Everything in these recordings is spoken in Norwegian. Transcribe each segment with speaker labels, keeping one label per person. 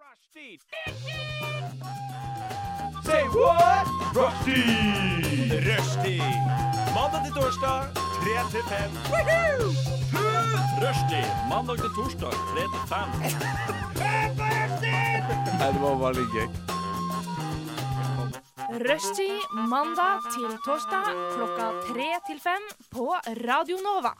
Speaker 1: Rushdie! Say what? Rushdie! Rushdie! Mandag til torsdag, 3 til 5. Rushdie! Mandag til torsdag, 3 til 5.
Speaker 2: Rushtid mandag til torsdag klokka tre til fem på Radio Nova.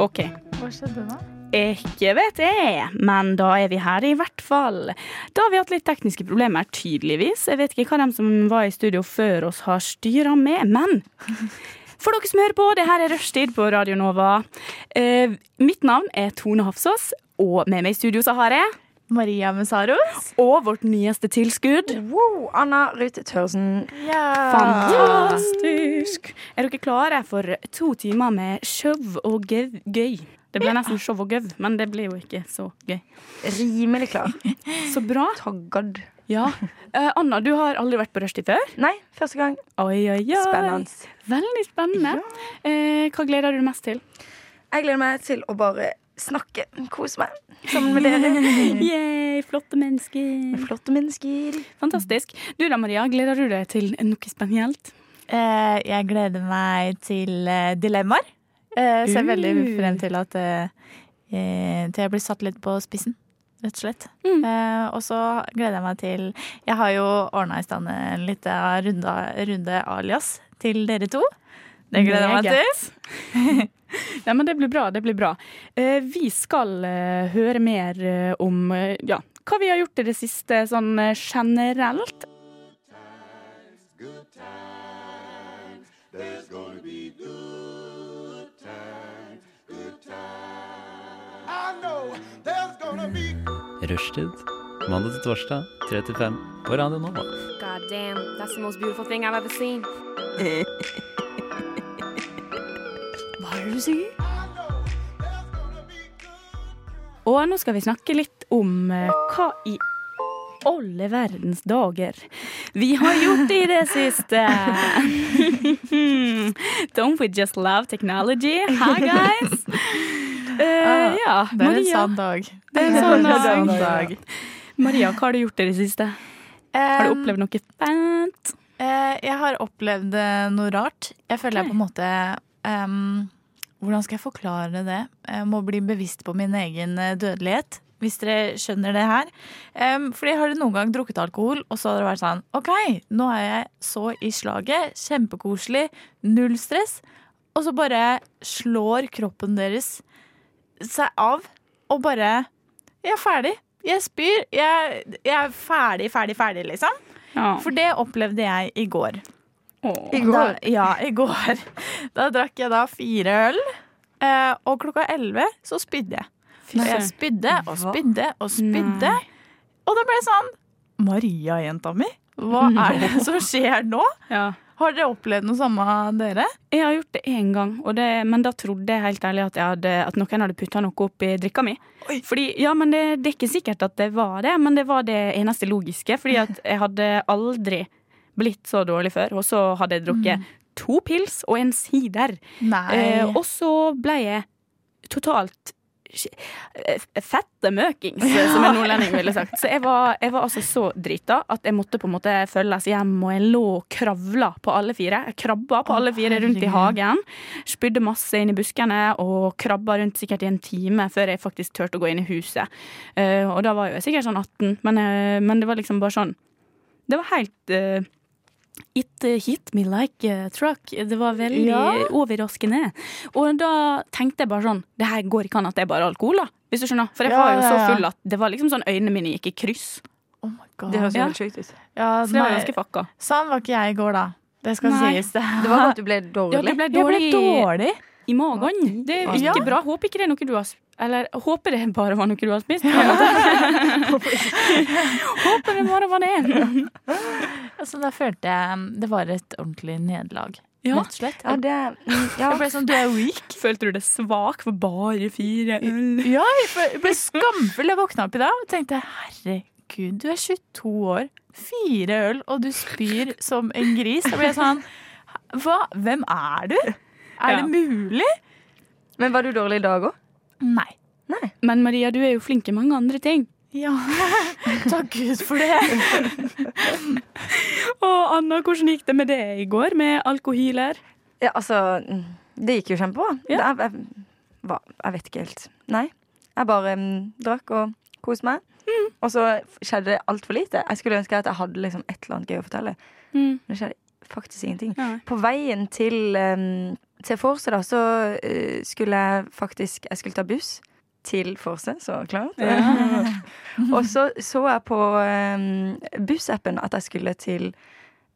Speaker 3: OK.
Speaker 4: Hva skjedde nå?
Speaker 3: Ikke vet jeg, men da er vi her i hvert fall. Da har vi hatt litt tekniske problemer, tydeligvis. Jeg vet ikke hva de som var i studio før oss har styra med, men for dere som hører på, det her er Rushtid på Radio Nova. Eh, mitt navn er Tone Hafsås, og med meg i studio så har jeg
Speaker 4: Maria Messaros.
Speaker 3: Og vårt nyeste tilskudd.
Speaker 5: Wow, Anna Ruth Thorsen.
Speaker 3: Fantastisk! Ah. Er dere klare for to timer med show og gøv- gøy? Det ble nesten show og gøv, men det ble jo ikke så gøy.
Speaker 5: Rimelig klar.
Speaker 3: Så bra.
Speaker 5: Taggad.
Speaker 3: Ja. Eh, Anna, du har aldri vært på rushtid før.
Speaker 5: Nei, første gang.
Speaker 3: Oi, oi, oi.
Speaker 5: Spennende.
Speaker 3: Veldig spennende. Eh, hva gleder du deg mest til?
Speaker 5: Jeg gleder meg til å bare snakke, kose meg sammen med
Speaker 3: Mm.
Speaker 5: dere.
Speaker 3: Yeah, flotte mennesker.
Speaker 5: Flotte mennesker.
Speaker 3: Fantastisk. Du da, Maria, gleder du deg til noe spesielt?
Speaker 4: Eh, jeg gleder meg til eh, dilemmaer. Eh, ser veldig
Speaker 3: Uh.
Speaker 4: frem til at eh, eh, Til jeg blir satt litt på spissen, rett og slett.
Speaker 3: Mm.
Speaker 4: Eh, og så gleder jeg meg til Jeg har jo ordna i stand en liten runde, runde alias til dere to. Det gleder jeg meg til.
Speaker 3: Nei, men det blir bra, det blir bra. Eh, vi skal eh, høre mer eh, om eh, ja, hva vi har gjort i det siste sånn eh, generelt.
Speaker 6: Rushtid. Mandag til torsdag, 3 til 5 på Radio Nova.
Speaker 2: God damn, that's the most beautiful thing I've ever seen.
Speaker 3: Og nå skal vi snakke litt om eh, hva i alle verdens dager vi har gjort i det siste. Don't we just love technology? Hi, guys. Eh, ja,
Speaker 4: Ah, Det er en
Speaker 3: Maria.
Speaker 4: sann dag.
Speaker 3: Det er en
Speaker 4: Det er en
Speaker 3: sann
Speaker 4: sann
Speaker 3: dag.
Speaker 4: dag.
Speaker 3: Maria, hva har du gjort i det siste? Har du opplevd noe fint?
Speaker 4: Eh, jeg har opplevd eh, noe rart. Jeg føler jeg på en måte ehm, Hvordan skal jeg forklare det? Jeg må bli bevisst på min egen eh, dødelighet, hvis dere skjønner det her. Um, fordi har dere noen gang drukket alkohol, og så har dere vært sånn OK, nå er jeg så i slaget. Kjempekoselig. Null stress. Og så bare slår kroppen deres seg av og bare Jeg er ferdig. Jeg spyr. Jeg, jeg er ferdig, ferdig, ferdig, liksom.
Speaker 3: Ja.
Speaker 4: For det opplevde jeg i går.
Speaker 3: Åh.
Speaker 4: Da, ja, i går. Da drakk jeg da fire øl, eh, og klokka elleve så spydde jeg. Og jeg spydde og spydde og spydde,
Speaker 3: Nei.
Speaker 4: og da ble jeg sånn Maria, jenta mi, hva
Speaker 3: Mm.
Speaker 4: er det som skjer nå?
Speaker 3: Ja.
Speaker 4: Har dere opplevd noe samme, dere?
Speaker 3: Jeg har gjort det én gang, og det, men da trodde jeg helt ærlig at, jeg hadde, at noen hadde putta noe oppi drikka mi. Fordi, ja, men det, det er ikke sikkert at det var det, men det var det eneste logiske. Fordi at jeg hadde aldri blitt så dårlig før, og så hadde jeg drukket to pils og en sider.
Speaker 4: Nei.
Speaker 3: Eh, og så ble jeg totalt sk- eh, fette møkings, som en nordlending ville sagt. Så jeg var, jeg var altså så drita at jeg måtte på en måte følges hjem, og jeg lå og kravla på alle fire. Jeg krabba på
Speaker 4: Å,
Speaker 3: alle fire rundt i
Speaker 4: herregud.
Speaker 3: hagen. Spydde masse inn i buskene og krabba rundt sikkert i en time før jeg faktisk turte å gå inn i huset. Eh, og da var jo jeg sikkert sånn 18, men, eh, men det var liksom bare sånn Det var helt eh, It eh, hit me like a truck. Det var veldig
Speaker 4: Ja.
Speaker 3: overraskende. Og da tenkte jeg bare sånn Det her går ikke an at det er bare alkohol, da. Hvis du skjønner. For jeg
Speaker 4: Ja,
Speaker 3: var jo
Speaker 4: ja,
Speaker 3: så
Speaker 4: ja.
Speaker 3: full at det var liksom sånn øynene mine gikk i kryss.
Speaker 4: oh my god.
Speaker 5: Det høres
Speaker 3: Ja.
Speaker 5: helt sjukt ut.
Speaker 4: ja,
Speaker 3: Så det var
Speaker 4: nei,
Speaker 3: ganske fucka.
Speaker 4: Sånn var ikke jeg i går, da. Det skal
Speaker 3: Nei.
Speaker 4: sies, det.
Speaker 5: Det var at du ble
Speaker 3: Ja,
Speaker 5: dårlig.
Speaker 3: det ble
Speaker 4: Jeg ble
Speaker 3: dårlig,
Speaker 4: dårlig.
Speaker 3: i magen. Det er
Speaker 4: Ja.
Speaker 3: ikke bra. Håper ikke det er noe du har sp- Eller håper det bare var noe du har spist. på en måte. håper det bare var det.
Speaker 4: Altså, da følte jeg um, det var et ordentlig nederlag.
Speaker 3: Ja.
Speaker 4: Rett og slett.
Speaker 5: Ja, det mm, ja.
Speaker 4: Jeg ble sånn, du er weak.
Speaker 3: Følte du deg svak for bare fire øl?
Speaker 4: Ja, jeg ble- jeg ble skamfull. Jeg våkna opp i dag og tenkte herregud, du er 22 år, fire øl, og du spyr som en gris. Da ble jeg sånn Hva? Hvem er du? Er
Speaker 3: Ja.
Speaker 4: det mulig?
Speaker 5: Men var du dårlig i dag òg?
Speaker 4: Nei.
Speaker 5: Nei.
Speaker 3: Men Maria, du er jo flink i mange andre ting.
Speaker 4: Ja, takk Gud for det.
Speaker 3: Og Anna, hvordan gikk det med det i går, med alkohyler?
Speaker 5: Ja, altså mm, Det gikk jo kjempebra.
Speaker 3: Ja.
Speaker 5: Jeg, jeg, hva, jeg vet ikke helt. Nei. Jeg bare mm, drakk og koste meg. Og så skjedde det altfor lite. Jeg skulle ønske at jeg hadde liksom et eller annet gøy å fortelle.
Speaker 3: Mm.
Speaker 5: Men det skjedde faktisk ingenting.
Speaker 3: Nei.
Speaker 5: På veien til, um, til Forse, da, så eh, skulle jeg faktisk Jeg skulle ta buss til Forse, så klart. og så så jeg på um, bussappen at jeg skulle til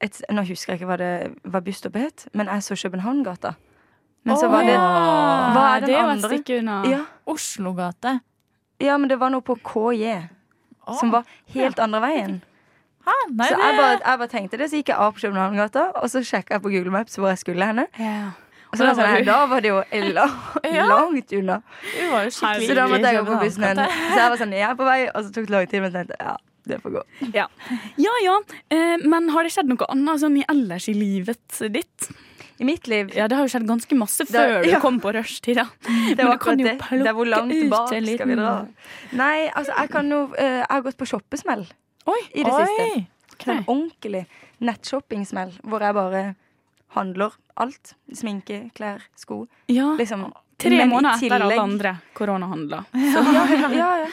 Speaker 5: et, Nå husker jeg ikke hva, det, hva busstoppet het, men jeg så Københavngata. Men så
Speaker 4: Å,
Speaker 5: var Altså, det Hva er den
Speaker 3: det er jo et
Speaker 5: andre?
Speaker 3: stykke unna.
Speaker 5: Ja,
Speaker 4: Oslogate.
Speaker 5: ja, men det var noe på KJ
Speaker 4: Å,
Speaker 5: som var helt andre veien.
Speaker 4: hæ? Nei,
Speaker 5: Så
Speaker 4: det,
Speaker 5: jeg bare, jeg bare tenkte det, så gikk jeg av på Københavngata, og så sjekka jeg på Google Maps hvor jeg skulle henne.
Speaker 3: Ja.
Speaker 5: Og så
Speaker 3: Da
Speaker 5: var det sånn,
Speaker 3: var du-
Speaker 5: her, da var det jo la-
Speaker 4: Ja.
Speaker 5: langt unna.
Speaker 4: du var jo skikkelig
Speaker 5: Så da måtte jeg gå på
Speaker 4: København.
Speaker 5: bussen igjen. Så jeg var sånn, jeg er på vei, og så tok det lang tid, men jeg tenkte, ja, det får gå.
Speaker 3: ja, ja. Eh, men har det skjedd noe annet sånn i ellers i livet ditt?
Speaker 5: I mitt liv,
Speaker 3: Ja, det har jo skjedd ganske masse
Speaker 5: Det-
Speaker 3: før du
Speaker 5: ja.
Speaker 3: kom på rushtid, da.
Speaker 5: det
Speaker 3: Men
Speaker 5: var
Speaker 3: du kan
Speaker 5: akkurat
Speaker 3: jo
Speaker 5: det. Det er hvor langt
Speaker 3: plukke ut
Speaker 5: bak
Speaker 3: en
Speaker 5: skal vi
Speaker 3: liten-
Speaker 5: dra. Nei, altså, jeg kan jo, eh, jeg har gått på shoppesmell
Speaker 3: Oi.
Speaker 5: i det siste.
Speaker 4: Oi.
Speaker 5: Sånn ordentlig nettshopping-smell, hvor jeg bare handler alt. Sminke, klær, sko,
Speaker 3: Ja.
Speaker 5: liksom.
Speaker 3: Ah, Tre
Speaker 5: Men i
Speaker 3: måneder etter alle
Speaker 5: tillegg-
Speaker 3: andre koronahandler.
Speaker 5: Ja, ja.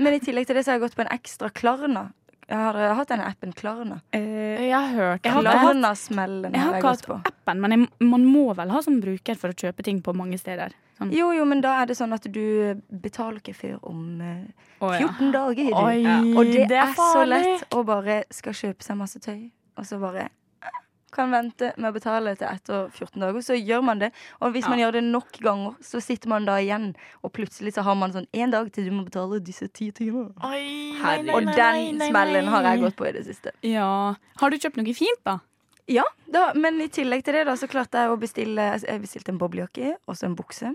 Speaker 5: Men i tillegg til det så har jeg gått på en ekstra Klarna. Jeg har eh, hatt denne appen Klarna.
Speaker 3: Eh,
Speaker 4: Jeg har hørt
Speaker 3: Jeg har
Speaker 4: om det.
Speaker 3: ikke hatt-
Speaker 5: Klarna-smellen
Speaker 3: jeg har
Speaker 5: har jeg
Speaker 3: ikke
Speaker 5: gått
Speaker 3: hatt
Speaker 5: på.
Speaker 3: appen, men jeg, man må vel ha som bruker for å kjøpe ting på mange steder? Sånn.
Speaker 5: Jo, jo, men da er det sånn at du betaler ikke før om eh,
Speaker 3: Å, ja.
Speaker 5: 14 dager. du.
Speaker 4: Oi,
Speaker 5: Og det, er, så
Speaker 4: farlig.
Speaker 5: lett å bare skal kjøpe seg masse tøy, og så bare eh, kan vente med å betale til etter 14 dager. Så gjør man det. Og hvis man gjør det nok ganger, så sitter man da igjen, og plutselig så har man sånn én dag til du må betale disse ti timene.
Speaker 4: Oi, nei, nei,
Speaker 5: Og
Speaker 4: nei,
Speaker 5: den
Speaker 4: nei, nei,
Speaker 5: smellen har jeg
Speaker 4: nei.
Speaker 5: gått på i det siste.
Speaker 3: ja. Har du kjøpt noe fint, da?
Speaker 5: Ja, da, Men i tillegg til det da, så klarte jeg å bestille altså, Jeg bestilte en boblejakke og så en bukse.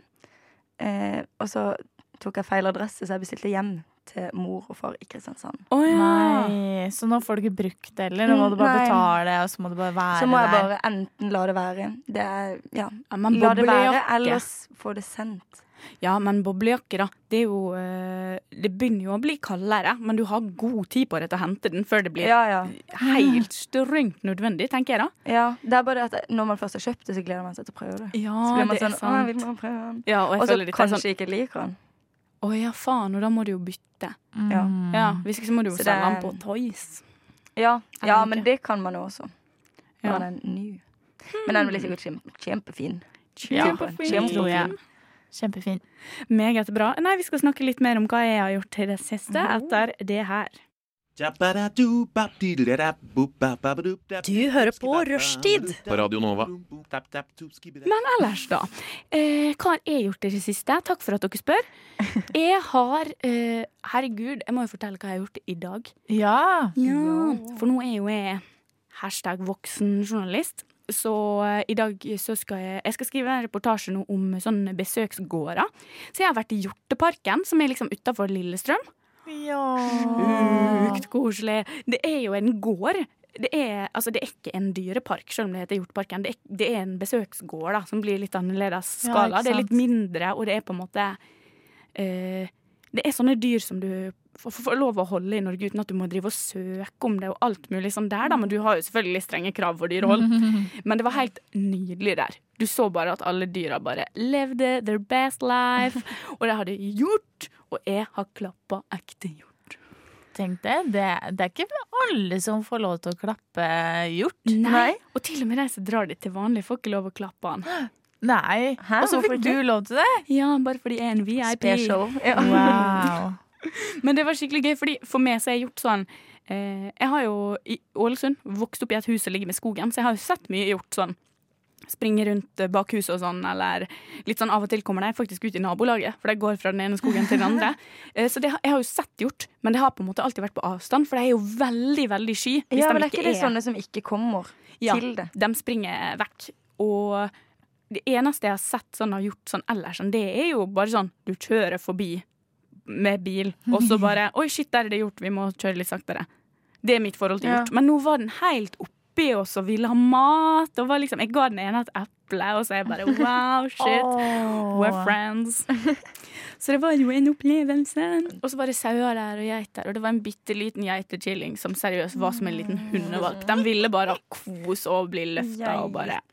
Speaker 5: Eh, og så tok jeg feil adresse, så jeg bestilte hjem til mor og far i Kristiansand.
Speaker 3: Å ja.
Speaker 4: Nei, så nå får du ikke brukt det heller. Nå må
Speaker 5: Mm,
Speaker 4: du bare
Speaker 5: nei.
Speaker 4: betale, og så må du bare være
Speaker 5: Så må jeg
Speaker 4: der.
Speaker 5: bare enten la det være Det er, ja,
Speaker 3: ja. Men
Speaker 5: La det være,
Speaker 3: boblejakke.
Speaker 5: ellers få det sendt.
Speaker 3: Ja, men boblejakke, da. Det er jo eh, Det begynner jo å bli kaldere, men du har god tid på deg til å hente den før det blir
Speaker 5: Ja, ja.
Speaker 3: helt strengt nødvendig, tenker jeg da.
Speaker 5: ja. Det er bare det at når man først har kjøpt det, så gleder man seg til å prøve det.
Speaker 3: Ja,
Speaker 5: Så blir man
Speaker 3: det er
Speaker 5: sånn, å, jeg
Speaker 3: sant.
Speaker 5: vil bare prøve den.
Speaker 3: Ja, og jeg
Speaker 5: Og så
Speaker 3: føler litt
Speaker 5: kanskje
Speaker 3: sånn
Speaker 5: ikke liker den.
Speaker 3: Å ja, faen, og da må du jo bytte.
Speaker 5: Ja.
Speaker 4: Mm.
Speaker 3: Ja, Hvis ikke så må du jo
Speaker 5: Mm. Så det
Speaker 3: selge den
Speaker 5: er-
Speaker 3: på Toys.
Speaker 5: Ja,
Speaker 3: Jeg
Speaker 5: ja
Speaker 3: liker.
Speaker 5: men det kan man jo også. Da
Speaker 3: Ja.
Speaker 5: er den ny. Men den blir sikkert kjempe, kjempefin.
Speaker 4: Ja,
Speaker 5: Kjempefin.
Speaker 4: tror jeg. Kjempefin.
Speaker 3: Meget bra. Nei, vi skal snakke litt mer om hva jeg har gjort i det siste etter det her.
Speaker 1: Du
Speaker 7: hører på Rushtid.
Speaker 1: På Radio Nova.
Speaker 3: Men ellers, da. Eh, hva har jeg gjort i det siste? Takk for at dere spør. Jeg har eh, Herregud, jeg må jo fortelle hva jeg har gjort i dag.
Speaker 4: Ja.
Speaker 3: Ja, for nå er jo jeg hashtag voksenjournalist. Så eh, i dag så skal jeg, jeg skal skrive en reportasje nå om sånne besøksgårder. Så jeg har vært i Hjorteparken, som er liksom utafor Lillestrøm.
Speaker 5: Mm.
Speaker 4: ja.
Speaker 3: Sjukt koselig. Det er jo en gård. Det er, altså det er ikke en dyrepark, selv om det heter Hjortparken. Det er, det er en besøksgård da, som blir litt annerledes
Speaker 4: Ja,
Speaker 3: skala.
Speaker 4: ikke
Speaker 3: det er litt
Speaker 4: sant.
Speaker 3: mindre, og det er på en måte eh, Det er sånne dyr som du får- får får lov å holde i Norge uten at du må drive og søke om det og alt mulig sånn der, da. Men du har jo selvfølgelig strenge krav for dyrehold. Men det var helt nydelig der. Du så bare at alle dyra bare levde their best life. Og de hadde hjort, og jeg har klappa ekte hjort.
Speaker 4: Tenk det. det. Det er ikke alle som får lov til å klappe hjort.
Speaker 3: Nei. Og til og med de som drar dit til vanlig, får ikke lov å klappe han.
Speaker 4: Nei.
Speaker 5: Hæ,
Speaker 4: Og så
Speaker 5: hvorfor
Speaker 4: fikk du
Speaker 5: ikke?
Speaker 4: lov til det.
Speaker 3: Ja, bare fordi jeg Mm. er en VIP.
Speaker 5: Special. Ja.
Speaker 4: Wow.
Speaker 3: Men det var skikkelig gøy, fordi for meg så har jeg gjort sånn eh, Jeg har jo i Ålesund vokst opp i et hus som ligger med skogen, så jeg har jo sett mye gjort sånn. Springe rundt eh, bak huset og sånn, eller litt sånn av og til kommer de faktisk ut i nabolaget, for de går fra den ene skogen til den andre. Eh, så det, har- jeg har jo sett hjort, men det har på en måte alltid vært på avstand, for de er jo veldig, veldig sky. Hvis
Speaker 5: Ja,
Speaker 3: de
Speaker 5: men er ikke det sånn
Speaker 3: er-
Speaker 5: sånne som ikke kommer
Speaker 3: Ja.
Speaker 5: til det?
Speaker 3: De springer vekk. Og det eneste jeg har sett sånn har gjort sånn ellers, sånn, det er jo bare sånn du kjører forbi med bil, og så bare Oi, shit, der er det gjort, vi må kjøre litt saktere. Det er mitt forhold til hjort. Men nå var den helt oppi oss og ville ha mat, og var liksom Jeg ga den ene et eple. eplet, og så er jeg bare wow, shit. We're friends. Så det var jo en opplevelse. Og så var det sauer der og geiter, og det var en bitte liten geitekilling som seriøst var som en liten hundevalp. De ville bare ha kos og bli løfta og bare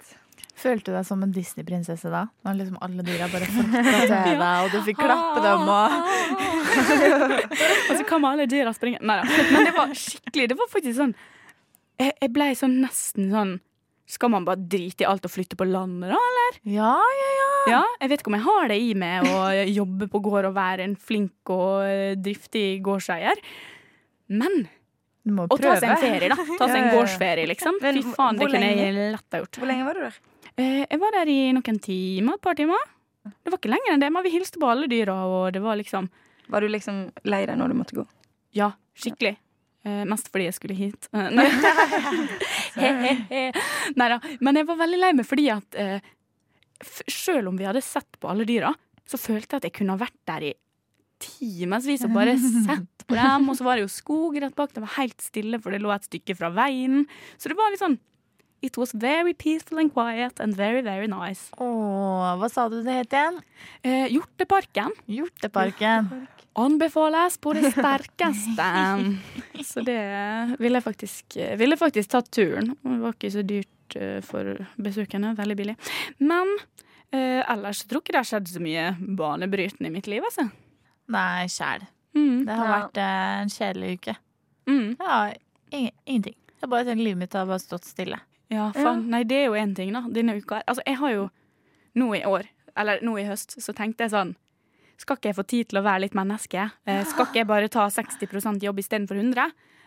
Speaker 4: Følte du deg som en Disney-prinsesse da? Når liksom alle dyra bare flokka til deg, og du fikk klappe dem og
Speaker 3: Og så kom alle dyra springe. Nei da. Men det var skikkelig Det var faktisk sånn Jeg, jeg blei sånn nesten sånn Skal man bare drite i alt og flytte på landet, da?
Speaker 4: Ja, ja, ja.
Speaker 3: Ja, jeg vet ikke om jeg har det i meg å jobbe på gård og være en flink og eh, driftig gårdseier. Men
Speaker 4: Du må
Speaker 3: å ta
Speaker 4: prøve.
Speaker 3: seg en ferie, da. Ta seg
Speaker 5: Ja, ja,
Speaker 3: en
Speaker 5: ja.
Speaker 3: gårdsferie, liksom.
Speaker 5: Men
Speaker 3: Fy
Speaker 5: hvor-
Speaker 3: faen, det
Speaker 5: hvor
Speaker 3: kunne jeg lett ha gjort.
Speaker 5: Hvor lenge var du der?
Speaker 3: Eh, Jeg var der i noen timer, et par timer. Det var ikke lenger enn det, men vi hilste på alle dyra, og det var liksom
Speaker 5: Var du liksom lei deg når du måtte gå?
Speaker 3: Ja, skikkelig. Eh, mest fordi jeg skulle hit. Eh, nei. nei da. Men jeg var veldig lei meg fordi at eh, f selv om vi hadde sett på alle dyra, så følte jeg at jeg kunne ha vært der i timevis og bare sett på dem. Og så var det jo skog rett bak, det var helt stille, for det lå et stykke fra veien. Så det var litt sånn It was very peaceful and quiet and very, very nice.
Speaker 4: Åh, hva sa du det het igjen?
Speaker 3: Eh, Hjorteparken
Speaker 4: Hjorteparken.
Speaker 3: Anbefales på det sterkeste. Så det ville jeg faktisk, ville faktisk tatt turen. Og Det var ikke så dyrt eh, for besøkende. Veldig billig. Men eh, ellers tror jeg ikke det har skjedd så mye banebrytende i mitt liv, altså.
Speaker 4: Nei, sjæl.
Speaker 3: Mm.
Speaker 4: Det har
Speaker 5: Ja.
Speaker 4: vært eh, en kjedelig uke.
Speaker 3: Mm.
Speaker 4: Ja, ingen, ingenting. Jeg bare tenker Livet mitt har bare stått stille.
Speaker 3: Ja, faen. Nei, det er jo én ting, da. Denne uka her. Altså, jeg har jo nå i år, eller nå i høst, så tenkte jeg sånn Skal ikke jeg få tid til å være litt menneske? Eh, Skal ikke jeg bare ta 60 jobb istedenfor 100?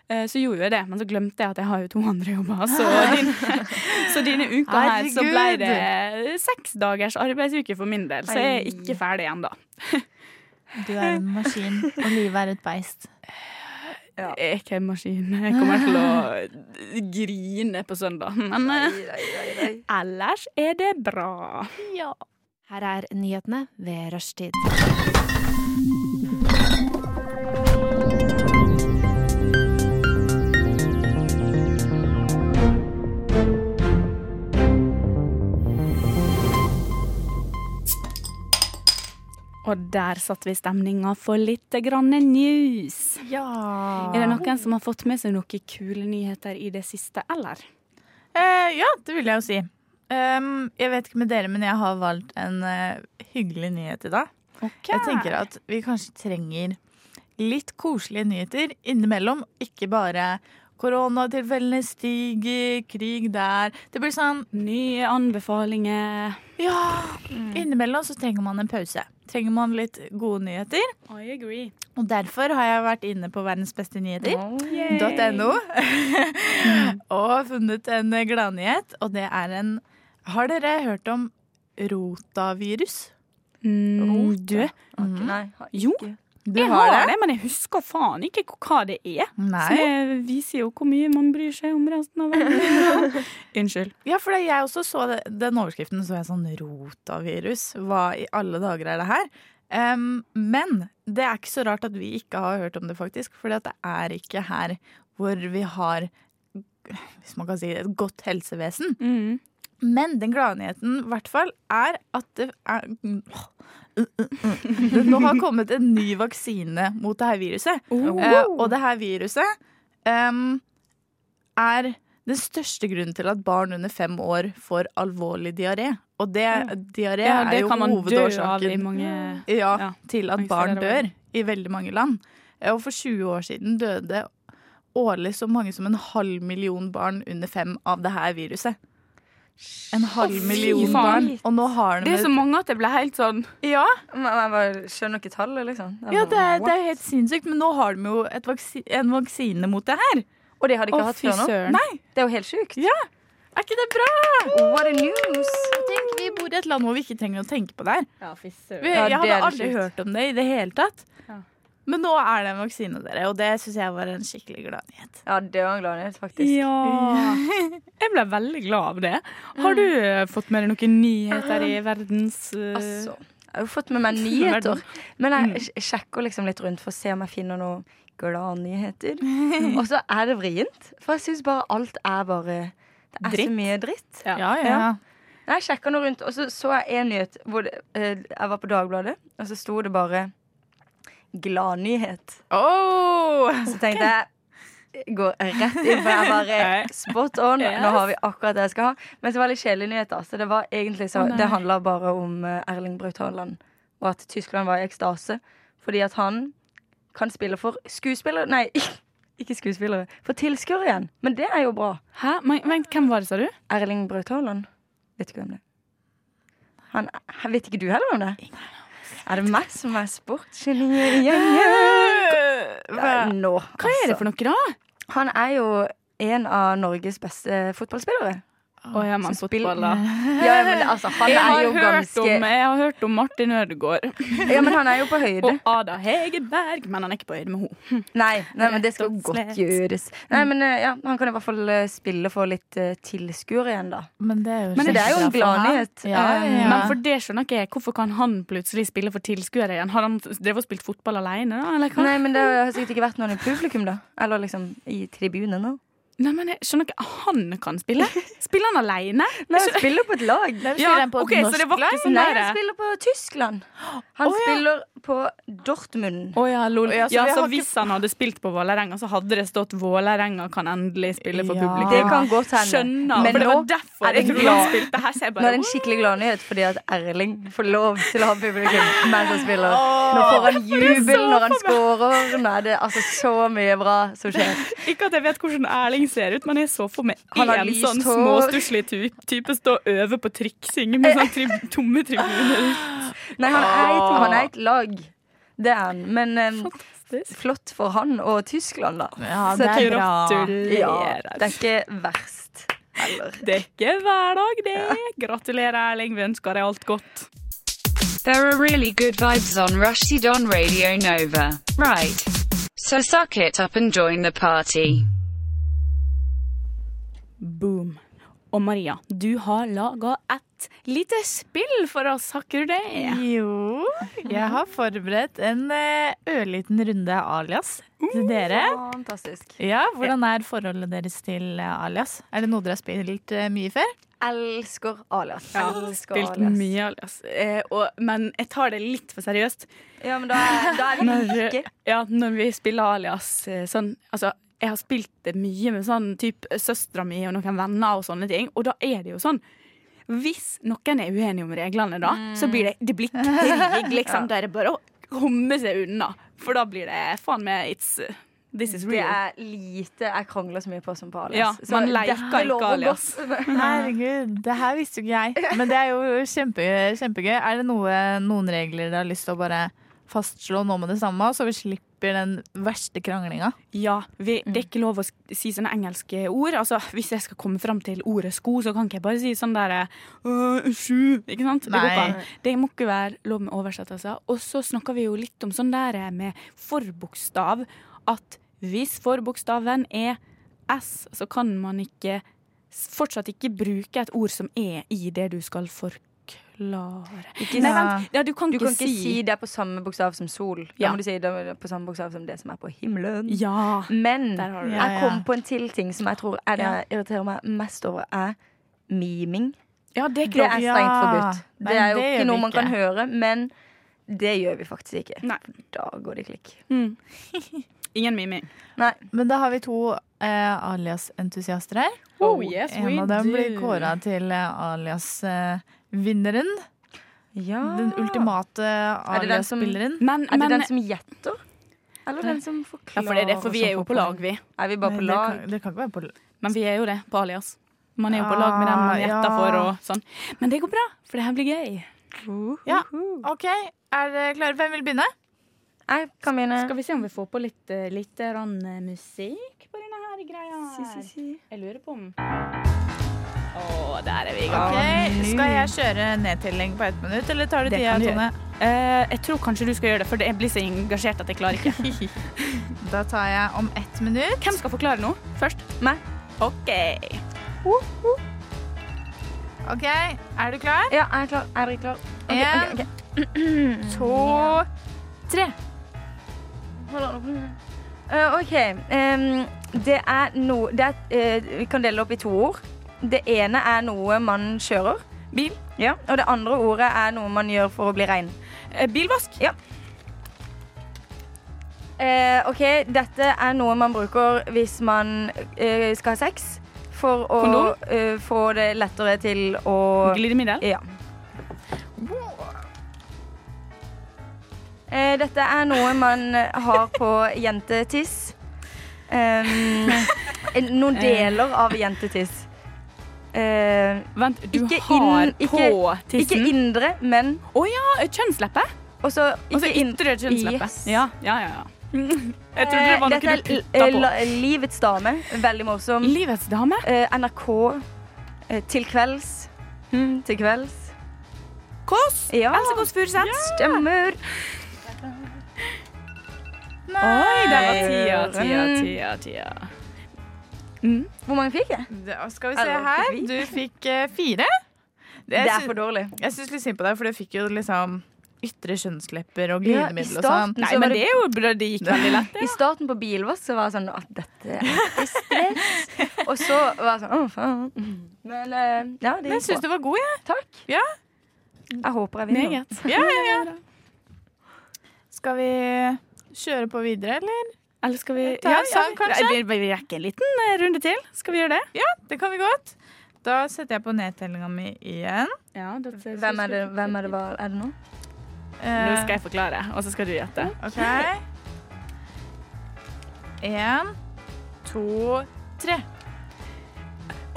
Speaker 3: Eh, Så gjorde jeg det, men så glemte jeg at jeg har jo to andre jobber. Så, din, så denne uka her så ble
Speaker 4: Herregud.
Speaker 3: det seks dagers arbeidsuke for min del. Så jeg er ikke ferdig ennå.
Speaker 4: Du er en maskin, og livet er et beist.
Speaker 3: Jeg er ikke en maskin. Jeg kommer til å grine på søndag. Men eh, ellers er det bra.
Speaker 4: Ja.
Speaker 7: Her er nyhetene ved rushtid.
Speaker 3: Og der satte vi stemninga for litt grann news. Er det noen som har fått med seg noen kule nyheter i det siste, eller?
Speaker 4: Eh, ja, det vil jeg jo si. Um, jeg vet ikke med dere, men jeg har valgt en eh, hyggelig nyhet i dag. Jeg tenker at vi kanskje trenger litt koselige nyheter innimellom. Ikke bare koronatilfellene stiger, krig der. Det blir sånn
Speaker 3: Nye anbefalinger.
Speaker 4: Ja!
Speaker 3: Mm.
Speaker 4: Innimellom så trenger man en pause. Trenger man litt gode nyheter.
Speaker 3: I agree.
Speaker 4: Og derfor har jeg vært inne på Verdens beste nyheter.
Speaker 5: Oh,
Speaker 4: .no
Speaker 3: Mm.
Speaker 4: og funnet en gladnyhet, og det er en Har dere hørt om rotavirus?
Speaker 3: Mm, du,
Speaker 5: Ok, nei, har
Speaker 3: jo.
Speaker 5: ikke.
Speaker 4: Du
Speaker 3: Jeg har det, men jeg husker faen ikke hva det er. Så
Speaker 4: Nei.
Speaker 3: det viser jo hvor mye man bryr seg om resten av verden. Unnskyld.
Speaker 4: Ja, for jeg også så det, den overskriften, så jeg sånn rotavirus. Hva i alle dager er det her? Em, men det er ikke så rart at vi ikke har hørt om det, faktisk. For det er ikke her hvor vi har hvis man kan si det, et godt helsevesen.
Speaker 3: Mm.
Speaker 4: Men den gladnyheten i hvert fall er at det er Det nå har kommet en ny vaksine mot det her viruset. Eh,
Speaker 3: Oh.
Speaker 4: og det her viruset em, er den største grunnen til at barn under fem år får alvorlig diaré. Og det, diaré
Speaker 3: Ja,
Speaker 4: er
Speaker 3: det
Speaker 4: jo
Speaker 3: kan man dø av i
Speaker 4: hovedårsaken
Speaker 3: mange
Speaker 4: ja,
Speaker 3: Ja,
Speaker 4: til at
Speaker 3: mange
Speaker 4: barn
Speaker 3: steder i
Speaker 4: dør
Speaker 3: verden.
Speaker 4: i veldig mange land. Eh, Og for 20 år siden døde årlig så mange som en halv million barn under fem av det her viruset. En halv
Speaker 3: fy
Speaker 4: million
Speaker 3: faen.
Speaker 4: barn. Og nå har de
Speaker 3: Det er så mange at jeg ble helt sånn
Speaker 4: ja,
Speaker 5: Men jeg bare skjønner ikke tallet, liksom. Jeg
Speaker 4: ja,
Speaker 5: bare,
Speaker 4: det er, det
Speaker 5: what?
Speaker 4: er helt sinnssykt, men nå har de jo et vaksi en vaksine mot det her.
Speaker 5: Og det har de ikke
Speaker 3: Å,
Speaker 5: hatt
Speaker 3: fy
Speaker 5: før nå?
Speaker 3: søren.
Speaker 5: Det er jo helt sjukt.
Speaker 4: Er ikke det bra?
Speaker 5: What a news!
Speaker 4: Tenk, vi bor i et land hvor vi ikke trenger å tenke på det her. Vi-
Speaker 5: Ja,
Speaker 4: Jeg
Speaker 5: det
Speaker 4: hadde
Speaker 5: er
Speaker 4: aldri
Speaker 5: sjukt.
Speaker 4: hørt om det i det hele tatt.
Speaker 3: Ja.
Speaker 4: Men nå er det en vaksine, dere, og det syns jeg var en skikkelig glad nyhet.
Speaker 5: Ja, det var en glad nyhet, faktisk.
Speaker 3: Ja. Jeg ble veldig glad av det. Har du eh, fått med deg noen nyheter i verdens eh,
Speaker 5: Altså, jeg har jo fått med meg nyheter. Men
Speaker 3: Mm.
Speaker 5: jeg sj- sjekker liksom litt rundt for å se om jeg finner noen gladnyheter. Og så er det vrient, for jeg syns bare alt er bare Det er
Speaker 3: Dritt.
Speaker 5: så mye dritt.
Speaker 3: Ja.
Speaker 4: Ja, ja.
Speaker 5: Nei, jeg sjekka nå rundt, og så så jeg en nyhet hvor det, eh, jeg var på Dagbladet, og så sto det bare 'Gladnyhet'. Så tenkte jeg Går rett inn, for jeg bare spot on. Nå har vi akkurat det jeg skal ha. Men så var det litt kjedelige nyheter. Så det var egentlig så
Speaker 3: Å, nei.
Speaker 5: Det handla bare om eh, Erling Braut Haaland, og at Tyskland var i ekstase fordi at han kan spille for skuespillere Nei, ikke skuespillere. For tilskuere igjen. Men det er jo bra.
Speaker 3: Hæ? Men, vent, hvem var det, sa du?
Speaker 5: Erling Braut Haaland. Vet ikke hvem det er. Han, han vet ikke du heller hvem det er? Er det meg som er sportsgeniet igjen?
Speaker 4: Hva?
Speaker 5: Nei, Nå, altså?
Speaker 3: Hva er det for noe, da?
Speaker 5: Han er jo en av Norges beste fotballspillere.
Speaker 3: Å ja, men
Speaker 5: Som spill-
Speaker 3: fotball, da.
Speaker 5: Ja, ja, men altså, han
Speaker 3: Jeg
Speaker 5: er
Speaker 3: har,
Speaker 5: jo
Speaker 3: hørt om,
Speaker 5: ganske
Speaker 3: jeg har hørt om Martin Ødegaard
Speaker 5: Ja, men han er jo på høyde.
Speaker 3: og Ada Hegerberg, men han er ikke på høyde med henne.
Speaker 5: Nei, nei men det skal
Speaker 3: Rett og
Speaker 5: godt
Speaker 3: slett.
Speaker 5: gjøres. Nei, men eh, ja, Han kan i hvert fall eh, spille for litt eh, tilskuere igjen, da.
Speaker 4: Men det er jo,
Speaker 3: Men det
Speaker 5: er jo en
Speaker 4: kjempebra for han.
Speaker 5: gladnyhet.
Speaker 4: Ja, ja, ja.
Speaker 3: Men for det skjønner ikke jeg, hvorfor kan han plutselig spille for tilskuere igjen? Har han drevet og spilt fotball alene, da? Eller hva?
Speaker 5: Eh, Nei, men Det har sikkert ikke vært noen i publikum, da. Eller liksom i tribunen. nå.
Speaker 3: Nei, men jeg skjønner ikke. Han kan spille. Spiller han alene?
Speaker 5: Nei, han spiller på et lag.
Speaker 4: Hvem spiller han på
Speaker 3: ok, så det var ikke sånn
Speaker 5: Nei,
Speaker 3: der.
Speaker 5: han spiller på Tyskland. Han spiller på Dortmund.
Speaker 3: Å ja, lol.
Speaker 4: ja,
Speaker 3: Ja,
Speaker 4: så
Speaker 3: så,
Speaker 4: vi har
Speaker 3: hvis han hadde spilt på Vålerenga, så hadde det stått 'Vålerenga kan endelig spille for
Speaker 4: Ja.
Speaker 3: publikum'.
Speaker 5: Det kan godt hende.
Speaker 3: Skjønner.
Speaker 5: Men
Speaker 3: for det
Speaker 5: nå
Speaker 3: var derfor
Speaker 5: er det
Speaker 3: jeg trodde
Speaker 5: glad-
Speaker 3: han spilte her. Så jeg
Speaker 5: Nå er
Speaker 3: bare
Speaker 5: det en skikkelig gladnyhet fordi at Erling får lov til å ha publikum mens han spiller. Nå får han jubel når han scorer. Nå er det altså så mye bra som skjer.
Speaker 3: Ikke at jeg vet hvordan Erling ser ut, men jeg så for meg
Speaker 5: Han har
Speaker 3: én
Speaker 5: lyst
Speaker 3: sånn
Speaker 5: hår.
Speaker 3: småstusslig ty- type stå og øve på triksing med sånn tri tomme tribuner.
Speaker 5: Nei, han er et, han er et lag. Det er han. Men eh, flott for han og Tyskland, da.
Speaker 4: Ja,
Speaker 5: Så
Speaker 4: det er bra.
Speaker 5: Ja,
Speaker 3: Gratulerer.
Speaker 5: det er ikke verst. Heller.
Speaker 3: Det er ikke hver dag, det. Gratulerer, Erling. Vi ønsker deg alt godt.
Speaker 8: There are really good vibes on Rushdie on Radio Nova. Right. So suck it up and join the party.
Speaker 3: Boom. Og Maria, du har laga et lite spill for oss, har ikke du det?
Speaker 4: Jo, jeg har forberedt en eh, ørliten runde alias
Speaker 5: Uh.
Speaker 4: til dere.
Speaker 5: Fantastisk.
Speaker 4: Ja, Hvordan er forholdet deres til eh, alias? Er det noe dere har spilt eh, mye før?
Speaker 5: Elsker alias.
Speaker 3: Jeg har
Speaker 5: Elsker
Speaker 3: spilt
Speaker 5: alias.
Speaker 3: mye alias, eh, og, men jeg tar det litt for seriøst.
Speaker 5: Ja, men da er, da er vi
Speaker 3: Når,
Speaker 5: like.
Speaker 3: ja, når vi spiller alias eh, sånn Altså, jeg har spilt det mye med sånn type søstera mi og noen venner og sånne ting, og da er det jo sånn Hvis noen er uenige om reglene, da, så blir det, det blir krig, liksom. Da er det bare å komme seg unna, for da blir det faen meg It's This is
Speaker 5: Det
Speaker 3: real.
Speaker 5: er lite jeg krangler så mye på som på alias.
Speaker 3: Ja,
Speaker 5: Så
Speaker 3: man leker
Speaker 5: dette
Speaker 3: ikke
Speaker 5: lover
Speaker 3: alias.
Speaker 5: godt.
Speaker 4: Herregud, det her visste jo ikke jeg. Men det er jo kjempe, kjempegøy. Er det noe, noen regler dere har lyst til å bare fastslå nå med det samme, så vi slipper den verste kranglinga?
Speaker 3: Ja, vi, Det er ikke lov å s- si sånne engelske ord. Altså, Hvis jeg skal komme fram til ordet sko, så kan ikke jeg bare si sånn der øh, sju, ikke sant? Det, går ikke
Speaker 4: Nei.
Speaker 3: an. det må ikke være lov med oversettelser. Og så snakker vi jo litt om sånn der med forbokstav. At hvis forbokstaven er S, så kan man ikke s- fortsatt ikke bruke et ord som er i det du skal forklare.
Speaker 5: Ikke
Speaker 3: Nei,
Speaker 5: sant?
Speaker 3: vent. Ja, du kan
Speaker 5: Du
Speaker 3: ikke
Speaker 5: kan ikke
Speaker 3: si,
Speaker 5: si det er på samme bokstav som sol. Da
Speaker 3: Ja.
Speaker 5: må du si det er på samme bokstav som det som er på himmelen.
Speaker 3: Ja.
Speaker 5: Men
Speaker 3: Der har du det.
Speaker 4: Ja,
Speaker 5: jeg
Speaker 4: ja.
Speaker 5: kom på en til ting som jeg tror er det jeg irriterer meg mest over, er miming.
Speaker 3: ja, det er ikke
Speaker 5: Det
Speaker 3: lov.
Speaker 5: er
Speaker 4: Ja.
Speaker 5: strengt forbudt.
Speaker 4: Nei,
Speaker 5: Det er jo
Speaker 4: det gjør
Speaker 5: ikke
Speaker 4: vi
Speaker 5: noe man
Speaker 4: ikke.
Speaker 5: kan høre, men det gjør vi faktisk ikke.
Speaker 3: Nei.
Speaker 5: Da går det klikk.
Speaker 3: Ingen miming.
Speaker 5: Nei.
Speaker 4: Men da har vi to eh, alias-entusiaster her.
Speaker 3: Oh, yes, we
Speaker 4: en av dem blir
Speaker 3: do.
Speaker 4: kåra til eh, alias-vinneren.
Speaker 5: Ja.
Speaker 4: den
Speaker 3: Ah.
Speaker 4: ultimate
Speaker 5: Er det den som-
Speaker 4: alias-spilleren.
Speaker 3: Men,
Speaker 5: Er det
Speaker 3: men
Speaker 5: den som gjetter? Eller den som
Speaker 3: Ja,
Speaker 5: forklarer?
Speaker 3: for det er det, for vi
Speaker 5: som
Speaker 3: er jo
Speaker 5: får
Speaker 3: på lag, vi.
Speaker 5: poeng? Er vi bare på
Speaker 4: Nei,
Speaker 5: lag?
Speaker 4: Eh, Det kan, det kan ikke være på lag.
Speaker 3: Men vi er jo det på Alias. Man er jo på lag med den man
Speaker 4: Ah,
Speaker 3: gjetter
Speaker 4: ja.
Speaker 3: for og sånn. Men det går bra, for det her blir gøy.
Speaker 4: Ja, OK. Er dere klare? Hvem vil begynne?
Speaker 5: Jeg kan begynne.
Speaker 3: Skal vi se om vi får på litt, eh, lite grann eh, musikk på denne her greia her. Jeg lurer på om Å, der er vi i gang.
Speaker 4: Ok, Skal jeg kjøre nedtelling på ett minutt, eller tar du
Speaker 3: Det
Speaker 4: tida,
Speaker 3: kan du
Speaker 4: Tone?
Speaker 3: Eh, jeg tror kanskje du skal gjøre det, for jeg blir så engasjert at jeg klarer ikke.
Speaker 4: Da tar jeg om ett minutt.
Speaker 3: Hvem skal forklare nå først?
Speaker 5: Meg.
Speaker 3: OK.
Speaker 4: OK, er du klar?
Speaker 5: Ja, jeg er klar. Jeg er dere klar. Ok,
Speaker 4: En,
Speaker 5: ok, ok. Mm.
Speaker 4: to
Speaker 5: Eh, OK. em, det er noe det er, eh, Vi kan dele opp i to ord. Det ene er noe man kjører, Bil. Ja, Og det andre ordet er noe man gjør for å bli rein.
Speaker 3: Eh, Bilvask.
Speaker 5: Eh, OK, dette er noe man bruker hvis man eh, skal ha sex. For å
Speaker 3: Kondom?
Speaker 5: eh, få det lettere til å
Speaker 3: Glidemiddel.
Speaker 5: Ja. Eh, dette er noe man har på jentetiss. Um,
Speaker 3: Eh.
Speaker 5: noen deler av jentetiss. Eh,
Speaker 3: Vent, du
Speaker 5: Ikke
Speaker 3: har
Speaker 5: inn- ikke-
Speaker 3: på
Speaker 5: ikke
Speaker 3: tissen.
Speaker 5: indre, men
Speaker 3: Å ja, eh, kjønnsleppe.
Speaker 5: også
Speaker 3: Altså
Speaker 5: ikke indre.
Speaker 3: ytre kjønnsleppe.
Speaker 5: Yes.
Speaker 3: Ja, ja, ja. Eh, ja. Jeg trodde det var
Speaker 5: Eh, Dette
Speaker 3: noe
Speaker 5: er
Speaker 3: du putta
Speaker 5: l-
Speaker 3: på.
Speaker 5: la- Livets dame. Veldig morsom.
Speaker 3: Livets dame.
Speaker 5: Eh, NRK. eh, til kvelds.
Speaker 3: Hmm,
Speaker 5: Mm, til kvelds.
Speaker 3: Kåss.
Speaker 5: Ja,
Speaker 3: Else Kåss Furuseth.
Speaker 5: stemmer.
Speaker 3: Oi, der var tida, tida,
Speaker 5: Mm.
Speaker 3: tida. tida.
Speaker 5: Hvor mange fikk jeg?
Speaker 4: Da skal vi
Speaker 5: se
Speaker 4: se
Speaker 5: her.
Speaker 4: her. Du fikk eh, fire.
Speaker 5: Det
Speaker 4: jeg
Speaker 5: er
Speaker 4: sy-
Speaker 5: for dårlig.
Speaker 4: Jeg syns litt synd på deg, for du fikk jo liksom ytre kjønnslepper og
Speaker 5: Ja, i
Speaker 4: glidemiddel og
Speaker 5: starten
Speaker 4: sånn.
Speaker 5: så
Speaker 3: Nei,
Speaker 5: var
Speaker 3: men
Speaker 5: det-
Speaker 3: det er jo bra. Det gikk veldig lett.
Speaker 5: I starten på bilvask så var jeg sånn at dette er stress. Og så var jeg sånn å, faen. Men eh, ja, det
Speaker 4: Men jeg syns
Speaker 5: gikk bra.
Speaker 4: du var god, jeg.
Speaker 5: Takk.
Speaker 4: Ja.
Speaker 5: Jeg håper jeg vinner.
Speaker 4: Ja, ja, ja. Skal vi kjøre på videre, eller?
Speaker 3: Eller skal vi
Speaker 4: Ta en sang, kanskje?
Speaker 3: Vi, vi rekker en liten eh, runde til. Skal vi gjøre det?
Speaker 4: Det kan vi godt. Da setter jeg på nedtellinga mi igjen.
Speaker 5: Hvem er det, hvem er det, var, er det nå?
Speaker 3: Nå skal jeg forklare, og så skal du gjette.
Speaker 4: Eh, OK. Én, to, tre.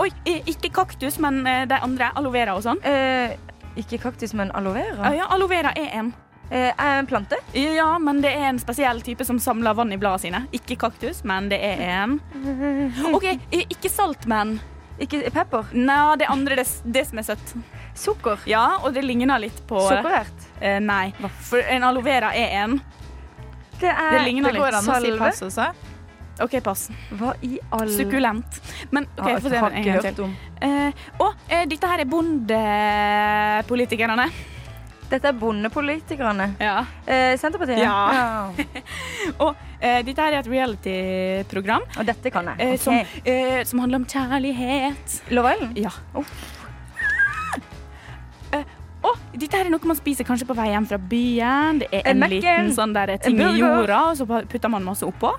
Speaker 3: Oi, eh, ikke kaktus, men eh, de andre. Aloe vera og sånn.
Speaker 5: Eh, ikke kaktus, men aloe vera.
Speaker 3: Ja, ja, aloe vera er en.
Speaker 5: Eh, er en plante.
Speaker 3: Ja, men det er en spesiell type som samler vann i bladene sine. Ikke kaktus, men det er en. OK, eh, ikke salt, men
Speaker 5: Ikke pepper.
Speaker 3: Nei, det andre, det, det som er søtt.
Speaker 5: Sukker.
Speaker 3: Ja, og det ligner litt på
Speaker 5: Sukkerert.
Speaker 3: eh, Nei, for en aloe vera er en.
Speaker 5: Det er
Speaker 3: Det ligner
Speaker 4: Det
Speaker 3: litt.
Speaker 4: går an å si
Speaker 5: Salve.
Speaker 4: pass også.
Speaker 3: OK, pass.
Speaker 5: Hva i all
Speaker 3: Sukkulent. Men
Speaker 4: Ah,
Speaker 3: OK,
Speaker 5: Ja,
Speaker 3: få se
Speaker 5: har
Speaker 3: den en gang
Speaker 5: ikke
Speaker 3: til.
Speaker 5: hørt om.
Speaker 3: Eh, og eh, dette her er bondepolitikerne.
Speaker 5: Dette er bondepolitikerne.
Speaker 3: Ja.
Speaker 5: Eh, Senterpartiet.
Speaker 3: Ja.
Speaker 5: Ja.
Speaker 3: Og eh, dette her er et reality-program
Speaker 5: Og dette kan jeg.
Speaker 3: eh, som,
Speaker 5: Ok.
Speaker 3: eh, som handler om kjærlighet.
Speaker 5: Love Island?
Speaker 3: Ja. Eh, og dette her er noe man spiser kanskje på vei hjem fra byen. Det er
Speaker 5: En
Speaker 3: en
Speaker 5: Mac-en.
Speaker 3: liten sånn der ting i
Speaker 5: burger.
Speaker 3: jorda, og så putter man masse oppå.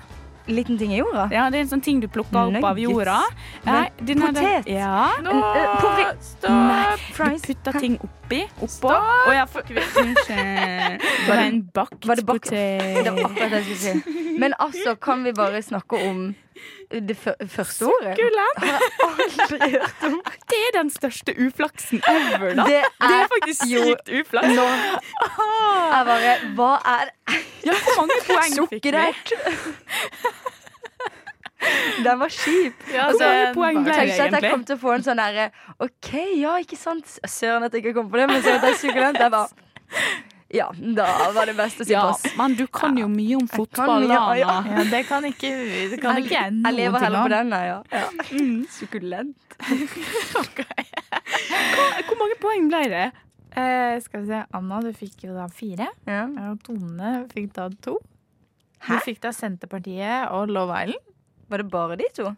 Speaker 5: Liten ting i jorda?
Speaker 3: Ja, det er en sånn ting du plukker opp av
Speaker 5: Nuggets.
Speaker 3: jorda. Nei, den her-
Speaker 5: potet.
Speaker 3: Ja.
Speaker 4: Nå,
Speaker 5: eh, porri-
Speaker 4: stopp!
Speaker 3: Du
Speaker 5: Fries.
Speaker 3: putter ting oppi. Oppå. Å ja, fuck. vi- Unnskyld. Det var en bakt
Speaker 5: var det bakt-
Speaker 3: potet.
Speaker 5: Det var akkurat det jeg skulle si. Men altså, kan vi bare snakke om det fø- første ordet?
Speaker 3: Sukkulent.
Speaker 5: Har jeg aldri hørt om.
Speaker 3: Det er den største uflaksen ever, da.
Speaker 5: Det
Speaker 3: Det er
Speaker 5: er
Speaker 3: faktisk
Speaker 5: jo-
Speaker 3: sykt uflaks.
Speaker 5: nå Jeg bare Hva er
Speaker 3: Ja, hvor mange poeng fikk vi?
Speaker 5: sukkerert? Den var kjip.
Speaker 4: Ja,
Speaker 3: Hvor mange
Speaker 4: den
Speaker 3: poeng
Speaker 4: var-
Speaker 3: ble det
Speaker 5: Tenkte at jeg
Speaker 3: egentlig?
Speaker 5: kom til å få en sånn derre OK, ja, ikke sant? Søren at jeg ikke kom på det, men så at jeg er sukkulent. Jeg bare Ja, da var det best å si
Speaker 3: Ja,
Speaker 5: pass.
Speaker 3: men du kan jo mye om fotball,
Speaker 5: mye,
Speaker 3: da.
Speaker 5: ja, ja.
Speaker 3: Anna.
Speaker 4: Ja, det kan ikke, det kan ikke jeg
Speaker 5: Jeg
Speaker 4: noen
Speaker 5: lever
Speaker 4: ting
Speaker 5: heller på
Speaker 4: om.
Speaker 5: den, nei, ja. ja. Sukkulent.
Speaker 3: Hvor mange poeng ble det?
Speaker 4: Eh, skal vi se, Anna, du fikk jo da fire.
Speaker 5: Ja.
Speaker 4: Og Tone fikk da to. Du fikk da Senterpartiet og Love Island.
Speaker 5: Var det bare de to?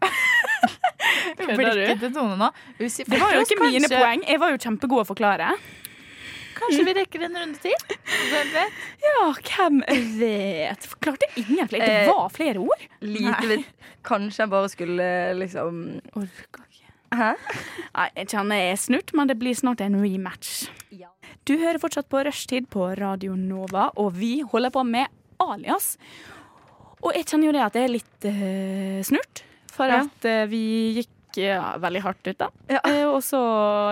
Speaker 4: Blikket til Tone nå.
Speaker 3: Det var jo ikke mine poeng. Jeg var jo kjempegod å forklare.
Speaker 4: Kanskje vi rekker en runde til? Hvem vet?
Speaker 3: Ja, hvem vet? Forklarte ingen flere.
Speaker 5: Eh,
Speaker 3: Det var flere ord.
Speaker 5: Lite vidt. Kanskje jeg bare skulle liksom
Speaker 3: Orker ikke.
Speaker 5: Hæ?
Speaker 3: Nei, jeg kjenner jeg er snurt, men det blir snart en rematch. Du hører fortsatt på Rushtid på Radio Nova, og vi holder på med Alias. Og jeg kjenner jo det at jeg er litt eh, snurt, for
Speaker 5: Ja.
Speaker 3: at eh, vi gikk ja, veldig hardt ut da. Eh, og så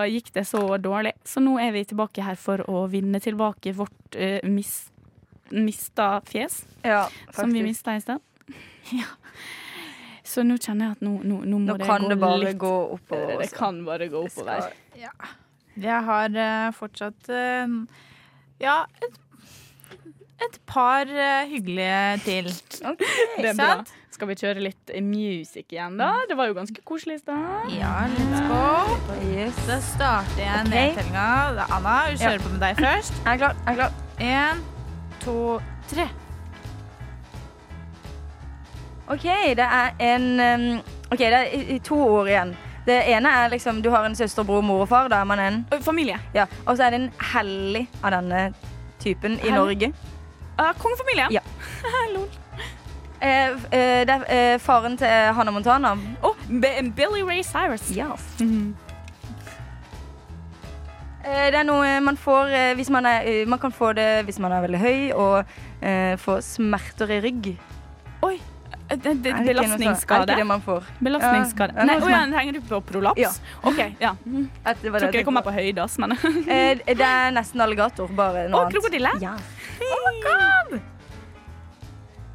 Speaker 3: gikk det så dårlig. Så nå er vi tilbake her for å vinne tilbake vårt eh, mis, mista fjes,
Speaker 5: Ja,
Speaker 3: som vi
Speaker 5: faktisk.
Speaker 3: mista i sted. Ja. Så nå kjenner jeg at nå, nå, nå må
Speaker 5: Nå kan det bare
Speaker 3: litt
Speaker 5: gå oppover.
Speaker 3: det
Speaker 5: også.
Speaker 3: kan bare gå oppover.
Speaker 4: Jeg har eh, fortsatt eh, ja, et, et par eh, hyggelige til.
Speaker 3: Det er bra.
Speaker 4: Sant?
Speaker 3: Skal vi kjøre litt eh, music igjen,
Speaker 5: Mm.
Speaker 3: da? Det var jo ganske koselig i stad.
Speaker 4: Ja, let's go.
Speaker 5: Yes.
Speaker 4: Da starter jeg
Speaker 5: Ok.
Speaker 4: nedtellinga. Da, Anna, vi kjører på med deg først.
Speaker 5: Jeg er klar. Jeg er klar.
Speaker 4: Én, to, tre.
Speaker 5: OK, det er en um, OK, det er i- i to ord igjen. Det ene er liksom Du har en søster, bror, mor og far. Da er man en.
Speaker 3: Ø, Familie.
Speaker 5: Ja. Og så er det en hellig av denne typen i
Speaker 3: Hellig?
Speaker 5: Norge.
Speaker 3: Uh, Kongefamilien.
Speaker 5: Ja.
Speaker 3: Lol.
Speaker 5: Eh, f- eh, det er eh, faren til Hannah Montana.
Speaker 3: Oh, B- Billy Ray Cyrus. Mhm.
Speaker 5: Eh, Det er noe man får eh, hvis man er eh, Man kan få det hvis man er veldig høy og eh, få smerter i rygg.
Speaker 3: Oi. eh, det- det-
Speaker 5: Er det ikke noe sånn- Er det
Speaker 3: Belastningsskade.
Speaker 5: ikke det man får?
Speaker 3: Belastningsskade.
Speaker 5: Ja, det er
Speaker 3: Nei,
Speaker 5: noe
Speaker 3: oh,
Speaker 5: som
Speaker 3: ja,
Speaker 5: er-
Speaker 3: henger du på prolaps?
Speaker 5: Ja.
Speaker 3: OK, ja.
Speaker 5: At det var
Speaker 3: Tror
Speaker 5: det
Speaker 3: ikke
Speaker 5: jeg
Speaker 3: jeg kommer
Speaker 5: tenkte
Speaker 3: på høyde, ass, men
Speaker 5: på. Eh, Det er nesten alligator, bare noe
Speaker 3: Å, krokodille?
Speaker 5: Ja.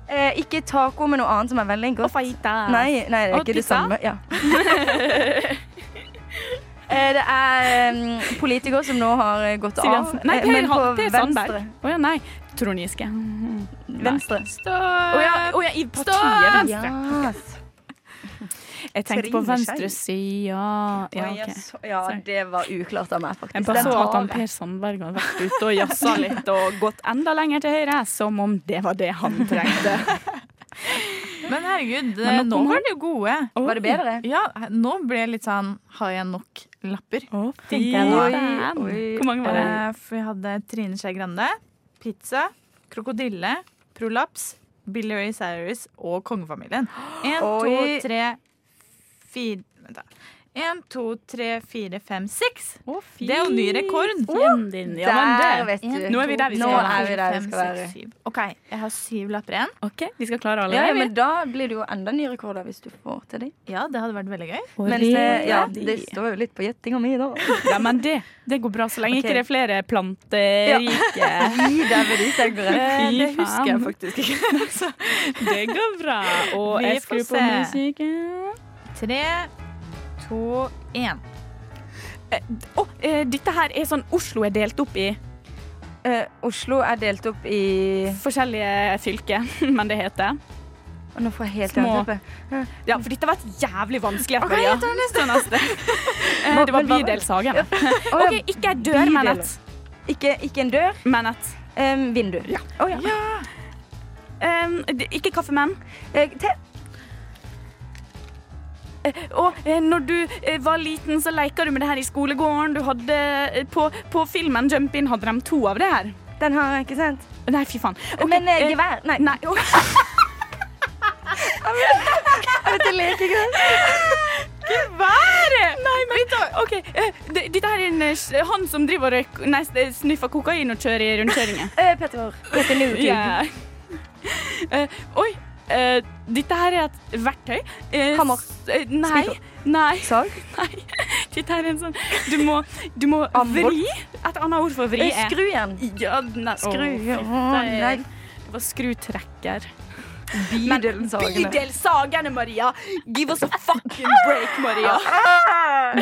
Speaker 5: Eh, Ikke taco, men noe annet som er veldig
Speaker 3: Og
Speaker 5: godt.
Speaker 3: fajitas.
Speaker 5: Nei, nei, det er
Speaker 3: Og
Speaker 5: ikke det
Speaker 3: pizza?
Speaker 5: samme. Ja. Eh, Det er um, politiker som nå har eh, gått
Speaker 3: Siv
Speaker 5: av.
Speaker 3: Jensen. sånn- Nei,
Speaker 5: eh,
Speaker 3: Per,
Speaker 5: men på
Speaker 3: han, per Sandberg.
Speaker 5: venstre.
Speaker 3: Å ja, nei. Trond Giske.
Speaker 5: Venstre.
Speaker 3: Å ja, å ja, i partiet Venstre.
Speaker 5: Yes.
Speaker 3: Jeg tenkte på venstre side. Ja,
Speaker 5: Oi,
Speaker 3: ok.
Speaker 5: yes. ja,
Speaker 3: Sorry.
Speaker 5: det var uklart av meg, faktisk.
Speaker 3: Jeg bare
Speaker 5: Den
Speaker 3: så at
Speaker 5: tar
Speaker 3: han Per Sandberg hadde vært ute og jazza litt og gått enda lenger til høyre, som om det var det han trengte.
Speaker 4: Men herregud,
Speaker 3: Men
Speaker 4: nå
Speaker 3: nok om
Speaker 4: var de jo gode.
Speaker 5: Var det bedre?
Speaker 4: Ja, nå ble jeg litt sånn Har jeg nok lapper?
Speaker 3: Å, fy
Speaker 4: Tenkte jeg da.
Speaker 3: faen. Hvor mange var det?
Speaker 4: Eh, for vi hadde Trine Skei Grande, pizza, krokodille, prolaps, Billy Ray Cyrus og kongefamilien. Én, to,
Speaker 5: Oi.
Speaker 4: tre, fire Vent, da. Én, to, tre, fire, fem, seks.
Speaker 3: Å, fy
Speaker 4: Det er jo ny rekord.
Speaker 3: faen din. Ja,
Speaker 5: Der,
Speaker 3: men det.
Speaker 5: vet du.
Speaker 3: Nå er vi der vi
Speaker 5: Nå
Speaker 3: skal være.
Speaker 5: er vi der vi
Speaker 4: Fem,
Speaker 5: skal være.
Speaker 4: seks, syv. OK, jeg har syv lapper igjen.
Speaker 3: OK, vi skal klare alle.
Speaker 5: Ja, ja,
Speaker 3: vi.
Speaker 5: men da blir det jo enda nye rekorder hvis du får til dem.
Speaker 4: Ja, det hadde vært veldig gøy.
Speaker 5: Men eh, ja, det står jo litt på gjettinga mi, da.
Speaker 3: Ja, men det, det går bra, så lenge
Speaker 5: Ok.
Speaker 3: ikke det er flere planterike
Speaker 5: Gi deg med de tenkere.
Speaker 3: Eh,
Speaker 4: det
Speaker 3: fy
Speaker 4: husker jeg
Speaker 3: faen.
Speaker 4: faktisk ikke. Så,
Speaker 3: Det går bra. Og
Speaker 4: Vi
Speaker 3: jeg
Speaker 4: får
Speaker 3: skrur på
Speaker 4: se.
Speaker 3: musikken.
Speaker 4: tre, to, én.
Speaker 3: Å, eh, dette her er sånn Oslo er delt opp i
Speaker 5: Eh, Oslo er delt opp i
Speaker 3: forskjellige fylker, men det heter
Speaker 5: Å, Nå får jeg helt
Speaker 3: Små.
Speaker 5: jernteppe.
Speaker 3: Ja, for dette har vært jævlig vanskelig.
Speaker 5: Ok, jeg
Speaker 3: tar neste. Eh, Det var Bydelshagen.
Speaker 5: Å, ja.
Speaker 3: OK, ikke ei dør, men
Speaker 5: Bydeler.
Speaker 3: et.
Speaker 5: Ikke, ikke en dør,
Speaker 3: Men et.
Speaker 5: em, vindu. Ja. ja.
Speaker 3: Um, det- ikke kaffemenn.
Speaker 5: Eh, te
Speaker 3: Og eh, når du eh, var liten, så leka du med det her i skolegården. Du hadde eh, på, på filmen Jump In hadde de to av det her.
Speaker 5: den har jeg ikke sendt.
Speaker 3: Nei, fy faen. Ok,
Speaker 5: Men eh,
Speaker 3: eh,
Speaker 5: gevær Nei.
Speaker 3: Nei. å,
Speaker 5: Jeg vet, jeg leker ikke det.
Speaker 3: Været! Nei, men OK. eh, det- Dette her er en, eh, s- han som driver og røyk- nei, s- eh, sniffer kokain og kjører i rundkjøringer.
Speaker 5: Eh, Petter. Petter Newtube.
Speaker 3: Ja. Eh, Oi. eh, dette her er et verktøy. Eh,
Speaker 5: Hammer.
Speaker 3: s- eh, Nei.
Speaker 5: Spiker.
Speaker 3: Nei.
Speaker 5: Sag.
Speaker 3: nei. Dette her er en sånn Du må, du må
Speaker 5: Ambolt.
Speaker 3: vri. Et annet ord for vri
Speaker 5: Eh,
Speaker 3: er
Speaker 5: Skrujern.
Speaker 3: Ja, nei,
Speaker 5: Skru.
Speaker 3: å, fy
Speaker 5: Å,
Speaker 3: faen.
Speaker 5: nei.
Speaker 3: Det var skrutrekker.
Speaker 5: Bydelsagene.
Speaker 3: Bydelsagene, Maria! Give us a fucking break, Maria.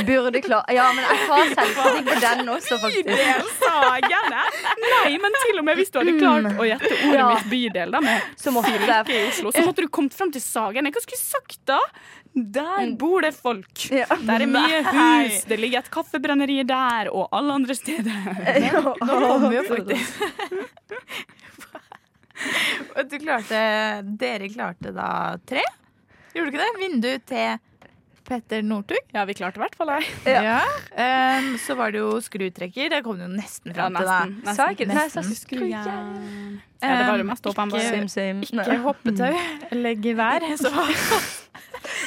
Speaker 5: Burde klare Ja, men jeg har selvkritikk på den også, faktisk.
Speaker 3: Bydelsagene? Nei, men til og med hvis du hadde klart å gjette ordet
Speaker 5: Ja.
Speaker 3: mitt bydel da, med
Speaker 5: Så måtte
Speaker 3: fylke i Oslo, så måtte du kommet fram til Sagene. Hva skulle jeg sagt da? Der bor det folk.
Speaker 5: Ja.
Speaker 3: Der er mye hus. Det ligger et kaffebrenneri der, og alle andre steder.
Speaker 4: Nå kommer jo faktisk Og du klarte Dere klarte da tre? Gjorde du ikke det? Vindu til Petter Northug.
Speaker 3: Ja, vi klarte i hvert fall det.
Speaker 5: Ja.
Speaker 4: Ehm, så var det jo skrutrekker. Det kom du jo nesten
Speaker 3: Ja,
Speaker 4: fram til, da.
Speaker 3: nesten. nesten.
Speaker 5: Sa jeg ikke det? Nei, jeg sa
Speaker 4: Nesten.
Speaker 5: skrujern.
Speaker 3: Ja, det var det
Speaker 4: Ehm,
Speaker 3: mest åpenbare.
Speaker 5: Sim, sim.
Speaker 4: Ikke
Speaker 5: Nei.
Speaker 4: hoppetau eller gevær. Så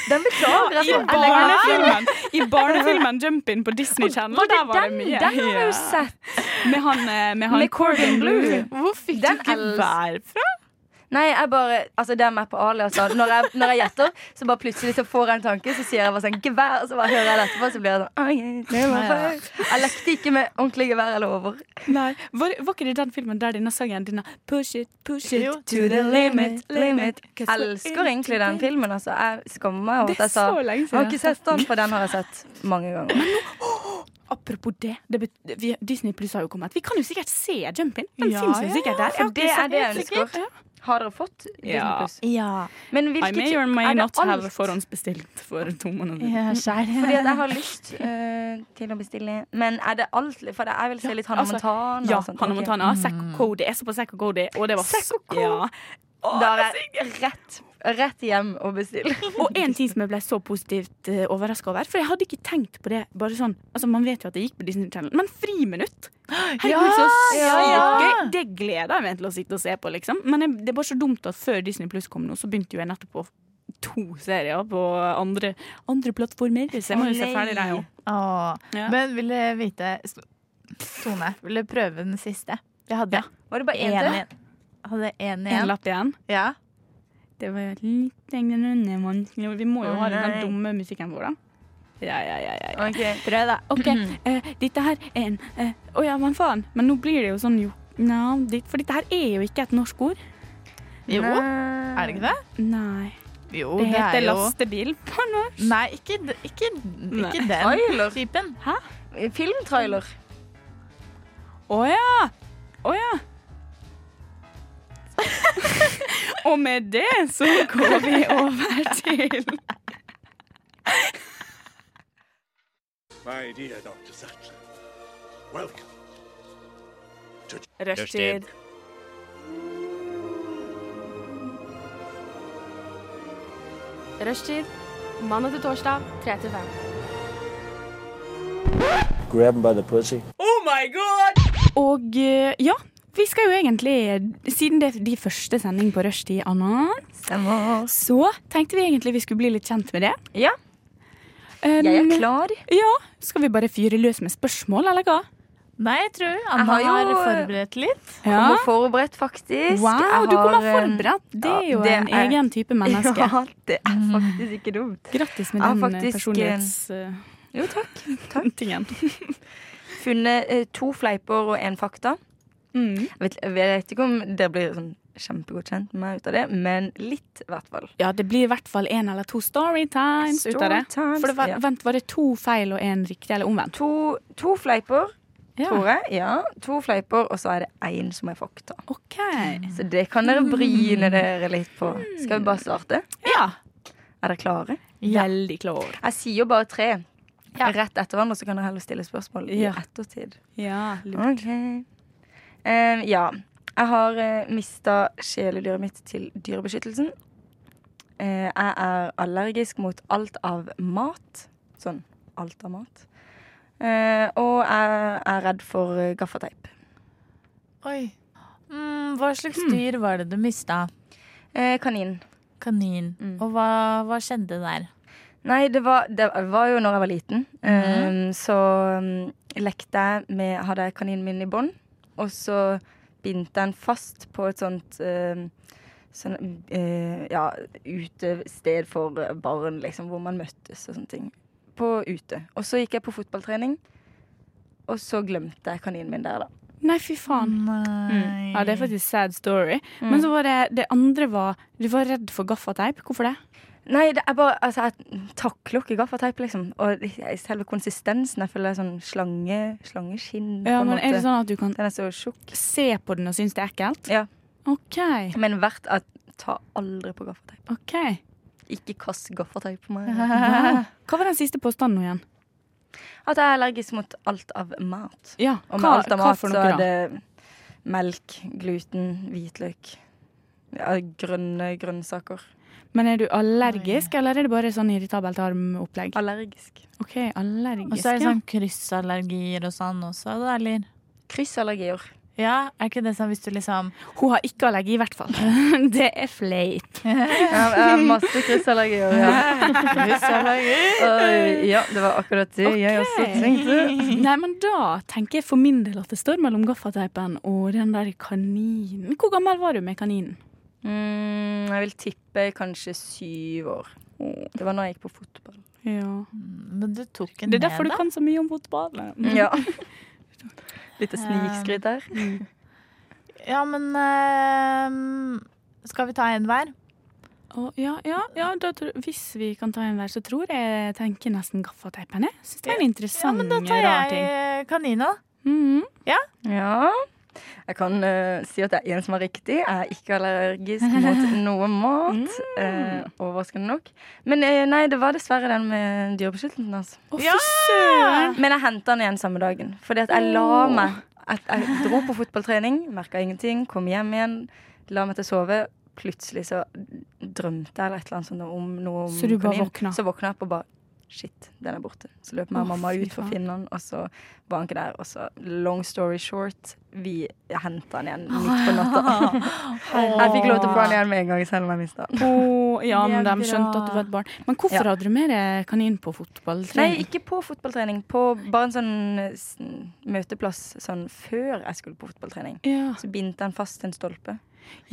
Speaker 5: Den beklager jeg
Speaker 3: I
Speaker 5: så. Jeg legger meg til.
Speaker 3: barnefilmen, I barnefilmen Jump In på Disney Channel,
Speaker 5: Var det
Speaker 3: der var det
Speaker 5: den?
Speaker 3: mye.
Speaker 5: Den har jeg
Speaker 3: Ja.
Speaker 5: jo sett.
Speaker 3: Med han, eh, med han
Speaker 5: Med Corbin Blue.
Speaker 4: hvor fikk
Speaker 5: Den
Speaker 4: du gevær fra?
Speaker 5: Nei, jeg bare Altså, det er meg på alias. da. Når jeg, når jeg gjetter, så bare plutselig så får jeg en tanke, så sier jeg bare sånn gevær, og så bare hører jeg det etterpå, så blir jeg sånn «Oi, det var feil». Jeg lekte ikke med ordentlig gevær, jeg lover.
Speaker 3: Nei, var, var ikke det den filmen der denne sangen denne Push it, push it
Speaker 4: Jo.
Speaker 3: to the limit, limit
Speaker 5: Jeg elsker egentlig den filmen, altså. Jeg skammer meg over
Speaker 3: Det er
Speaker 5: at jeg sa
Speaker 3: så lenge
Speaker 5: Jeg har
Speaker 3: siden.
Speaker 5: ikke sett den, for den har jeg sett mange ganger.
Speaker 3: Apropos det, det bet- vi, Disney Pluss har jo kommet. Vi kan jo sikkert se Jump In. Den
Speaker 4: Ja,
Speaker 3: finnes jo
Speaker 4: ja,
Speaker 3: sikkert der.
Speaker 5: For det er det jeg ønsker. Har dere fått Disney
Speaker 3: Ja.
Speaker 5: Pluss?
Speaker 4: Ja.
Speaker 5: Men
Speaker 3: I
Speaker 5: hvilket
Speaker 3: may or
Speaker 5: er
Speaker 3: may
Speaker 5: det
Speaker 3: not have
Speaker 5: alt?
Speaker 3: forhåndsbestilt for to måneder.
Speaker 4: ja
Speaker 5: Fordi at jeg har lyst eh, til å bestille Men er det alt? For jeg vil se litt Hannah
Speaker 3: Altså,
Speaker 5: Montana.
Speaker 3: Ja,
Speaker 5: og sånt.
Speaker 3: Hannah
Speaker 5: Ok.
Speaker 4: Mm.
Speaker 3: Montana. Zack og Cody. Jeg så på Zack og Cody, og det var
Speaker 5: Zack og
Speaker 3: så- ja.
Speaker 5: Da er jeg rett, rett hjem og bestille.
Speaker 3: Og en ting som jeg ble så positivt uh, overraska over, for jeg hadde ikke tenkt på det. Bare sånn, altså Man vet jo at det gikk på Disney Channel, men Friminutt! Herregud, så sykt
Speaker 4: ja, ja.
Speaker 3: gøy! Det gleder jeg meg til å sitte og se på, liksom. Men jeg, det er bare så dumt at før Disney Pluss kom nå, så begynte jo jeg nettopp på to serier på andre, andre plattformer. Så jeg må jo se ferdig deg òg.
Speaker 4: Åh.
Speaker 3: Ja.
Speaker 4: Men vil jeg vite Tone, vil du prøve den siste? Jeg hadde
Speaker 5: Var det bare én
Speaker 4: én
Speaker 5: til?
Speaker 4: igjen. Hadde én
Speaker 3: En
Speaker 4: igjen.
Speaker 3: lapp igjen.
Speaker 4: Ja.
Speaker 3: Det var litt lenger unna, mann. Vi må jo
Speaker 5: Å,
Speaker 3: ha den
Speaker 5: nei.
Speaker 3: dumme musikken vår, da. Ja, ja, ja, ja, ja.
Speaker 5: Ok.
Speaker 3: Prøv, da. OK, eh, dette her er en eh, Å ja, men faen. Men nå blir det jo sånn jo Nja, det- for dette her er jo ikke et norsk ord.
Speaker 4: Jo,
Speaker 5: Nei.
Speaker 4: er det ikke det?
Speaker 3: Nei.
Speaker 4: Jo,
Speaker 3: Det heter
Speaker 4: er jo-
Speaker 3: lastebil på norsk.
Speaker 4: Nei, ikke, d- ikke,
Speaker 3: Nei.
Speaker 4: ikke den
Speaker 5: Trailer?
Speaker 4: typen.
Speaker 5: Filmtrailer.
Speaker 3: Å ja! Å ja. Og med det så går vi over til
Speaker 1: My dear Dr. Sattler, welcome.
Speaker 6: Rushtid.
Speaker 7: Rushtid. Mandag til torsdag, 3 til 5.
Speaker 9: Grab him by the pussy.
Speaker 3: Og eh, ja, vi skal jo egentlig, siden det er de første sending på rushtid, Anna,
Speaker 5: Stemmer.
Speaker 3: så tenkte vi egentlig vi skulle bli litt kjent med det.
Speaker 5: Ja.
Speaker 3: Um,
Speaker 5: Jeg er klar.
Speaker 3: Ja, Skal vi bare fyre løs med spørsmål, eller hva?
Speaker 4: Nei, jeg tror Anna
Speaker 5: Jeg har
Speaker 4: har,
Speaker 5: jo-
Speaker 4: forberedt litt.
Speaker 5: Kommer forberedt, faktisk.
Speaker 3: Wow,
Speaker 5: Jeg
Speaker 3: du kommer
Speaker 5: har, eh,
Speaker 3: forberedt! Det er
Speaker 5: ja,
Speaker 3: jo
Speaker 5: det
Speaker 3: en
Speaker 5: er-
Speaker 3: egen type menneske. Mm.
Speaker 5: Ja, det er faktisk ikke dumt.
Speaker 3: Grattis med
Speaker 5: Jeg har
Speaker 3: den
Speaker 5: faktisk, eh,
Speaker 3: personlighetstingen.
Speaker 5: Jo, takk. Funnet eh, to fleiper og én fakta.
Speaker 3: Mm.
Speaker 5: Jeg vet, jeg vet ikke om dere blir sånn kjempegodt kjent med meg ut av det, men litt, i hvert fall.
Speaker 3: Ja, det blir i hvert fall én eller to storytimes ut av det.
Speaker 5: Storytimes,
Speaker 3: For det var,
Speaker 5: ja.
Speaker 3: vent, var det to feil og én riktig, eller omvendt?
Speaker 5: To, to fleiper,
Speaker 3: Ja,
Speaker 5: tror jeg. Ja, to fleiper, og så er det én som er fakta.
Speaker 3: OK.
Speaker 5: Så det kan dere
Speaker 3: Mm.
Speaker 5: bryne dere litt på. Skal vi bare starte?
Speaker 3: Ja.
Speaker 5: Er dere klare?
Speaker 3: Veldig klar.
Speaker 5: Jeg sier jo bare tre. Rett etter hverandre, så kan dere heller stille spørsmål i
Speaker 3: Ja.
Speaker 5: ettertid.
Speaker 3: Ja, lurt.
Speaker 5: Ok. Eh, ja. Jeg har uh, mista kjæledyret mitt til Dyrebeskyttelsen. Eh, jeg er allergisk mot alt av mat. Sånn alt av mat. Eh, og jeg er redd for eh, gaffateip.
Speaker 4: Oi. Mm, hva slags
Speaker 3: Hmm.
Speaker 4: dyr var det du mista?
Speaker 5: Eh, kanin.
Speaker 4: Kanin.
Speaker 3: Mm.
Speaker 4: Og hva, hva skjedde der?
Speaker 5: Nei, det var, det var jo når jeg var liten.
Speaker 3: Mhm.
Speaker 5: Eh, så mm, lekte jeg med Hadde jeg kaninen min i bånd, og så bindte jeg den fast på et sånt eh, Sånn eh, ja, utested for eh, barn, liksom, hvor man møttes og sånne ting. På ute. Og så gikk jeg på fotballtrening, og så glemte jeg kaninen min der, da.
Speaker 3: Nei, fy faen.
Speaker 4: Mm, Nei.
Speaker 3: Ja, Det er faktisk sad story.
Speaker 5: Mm.
Speaker 3: Men så var det det andre var Du var redd for gaffateip. Hvorfor det?
Speaker 5: Nei, det er bare Altså, jeg takler ikke gaffateip, liksom. Og selve konsistensen, jeg føler det er sånn slange, slangeskinn,
Speaker 3: Ja,
Speaker 5: på en
Speaker 3: men Er
Speaker 5: måte.
Speaker 3: det sånn at du kan
Speaker 5: Den er så tjukk.
Speaker 3: se på den og synes det er ekkelt?
Speaker 5: Ja.
Speaker 3: OK.
Speaker 5: Men verdt at ta aldri på gaffateip.
Speaker 3: ok
Speaker 5: Ikke kast gaffateip på meg.
Speaker 3: Hva var den siste påstanden nå igjen?
Speaker 5: At jeg er allergisk mot alt av mat.
Speaker 3: Ja,
Speaker 5: Og med
Speaker 3: hva,
Speaker 5: alt av
Speaker 3: hva
Speaker 5: mat
Speaker 3: for
Speaker 5: så
Speaker 3: noe
Speaker 5: er
Speaker 3: da?
Speaker 5: det melk, gluten, hvitløk. Ja, grønne grønnsaker.
Speaker 3: Men er du allergisk, eller er det bare sånn irritabelt armopplegg?
Speaker 5: Allergisk.
Speaker 3: OK, allergisk,
Speaker 4: Og så er det sånn kryssallergier og sånn også, da, eller?
Speaker 5: Kryssallergier.
Speaker 4: Ja, er ikke det sånn hvis du liksom
Speaker 3: ja. Hun har ikke allergi, i hvert fall. det er flaut.
Speaker 5: Ja, jeg har masse kryssallergier. Ja.
Speaker 4: Kryssallergier?
Speaker 5: Oi, ja, det var akkurat det jeg også trengte.
Speaker 3: Nei, men da tenker jeg for min del at det står mellom gaffateipen og den der kaninen. Hvor gammel var du med kaninen?
Speaker 5: Mm, jeg vil tippe kanskje syv år. Det var når jeg gikk på fotball.
Speaker 3: Ja.
Speaker 4: Men du tok den
Speaker 3: Det
Speaker 4: ned,
Speaker 3: er derfor du
Speaker 4: da.
Speaker 3: kan så mye om fotball.
Speaker 5: Ja. Lite snikskryt der.
Speaker 3: Mm.
Speaker 4: Ja, men ehm, Skal vi ta en hver?
Speaker 3: Å, ja, ja, ja da tror, hvis vi kan ta en hver, så tror jeg jeg tenker nesten gaffateipen. Jeg syns det er en
Speaker 4: Ja,
Speaker 3: interessant,
Speaker 4: men da tar
Speaker 3: rar
Speaker 4: jeg
Speaker 3: ting.
Speaker 4: eh, kanina.
Speaker 3: Mhm.
Speaker 5: Ja. Jeg kan eh, si at det er en som er riktig. Jeg er ikke allergisk mot noe mat. eh, overraskende nok. Men eh, nei, det var dessverre den med dyrebeskyttelsen. Altså.
Speaker 3: Å, fy
Speaker 4: Ja!
Speaker 3: søren!
Speaker 5: Men jeg henta den igjen samme dagen. Fordi at jeg la meg. At jeg dro på fotballtrening, merka ingenting, kom hjem igjen, la meg til å sove. plutselig så drømte jeg eller et eller annet sånt om noe om
Speaker 3: Så du bare
Speaker 5: kanin.
Speaker 3: våkna?
Speaker 5: Så våkna jeg opp og bare Shit, den er borte. Så løp meg og
Speaker 3: Å,
Speaker 5: mamma
Speaker 3: fy
Speaker 5: ut for
Speaker 3: faen.
Speaker 5: Finland, og så var han ikke der. Og så long story short, vi henta han igjen midt på natta. Jeg fikk lov til å få han igjen med en gang, selv om jeg mista han.
Speaker 3: Å, ja,
Speaker 4: Det er
Speaker 3: men de
Speaker 4: bra.
Speaker 3: skjønte at du var et barn. Men hvorfor
Speaker 5: Ja.
Speaker 3: hadde du med deg eh, kanin på fotballtrening?
Speaker 5: Nei, ikke på fotballtrening. På bare en sånn eh, s- møteplass sånn før jeg skulle på fotballtrening.
Speaker 3: Ja.
Speaker 5: Så bindte han fast til en stolpe.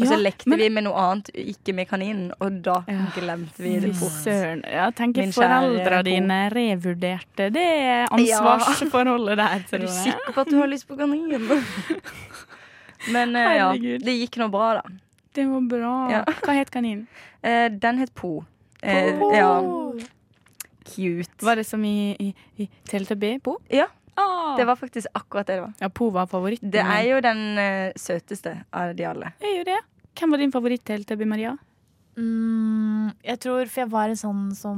Speaker 5: Og
Speaker 3: Ja,
Speaker 5: så lekte
Speaker 3: men-
Speaker 5: vi med noe annet, ikke med kaninen. Og da
Speaker 3: Ja.
Speaker 5: glemte vi
Speaker 3: Fy
Speaker 5: det fort.
Speaker 3: søren. Ja, tenker
Speaker 5: Min kjære
Speaker 3: foreldra
Speaker 5: Bo.
Speaker 3: dine revurderte det ansvarsforholdet der.
Speaker 5: Er
Speaker 3: Tror
Speaker 5: du
Speaker 3: jeg.
Speaker 5: sikker på at du har lyst på kanin? Men eh, ja,
Speaker 3: Herregud.
Speaker 5: det gikk nå bra, da.
Speaker 3: Det var bra.
Speaker 5: Ja.
Speaker 3: Hva het kaninen?
Speaker 5: Eh, den het Po. Eh, ja. Cute.
Speaker 3: Var det som i, i, i Teletubby? Po?
Speaker 5: Ja.
Speaker 3: Ah.
Speaker 5: Det var faktisk akkurat det det var.
Speaker 3: ja, Po var favoritten.
Speaker 5: Det er
Speaker 3: min.
Speaker 5: jo den eh, søteste av de alle.
Speaker 3: Det er jo det. Hvem var din favoritt-Teletubby, Maria?
Speaker 4: Mm, jeg tror, for jeg var en sånn som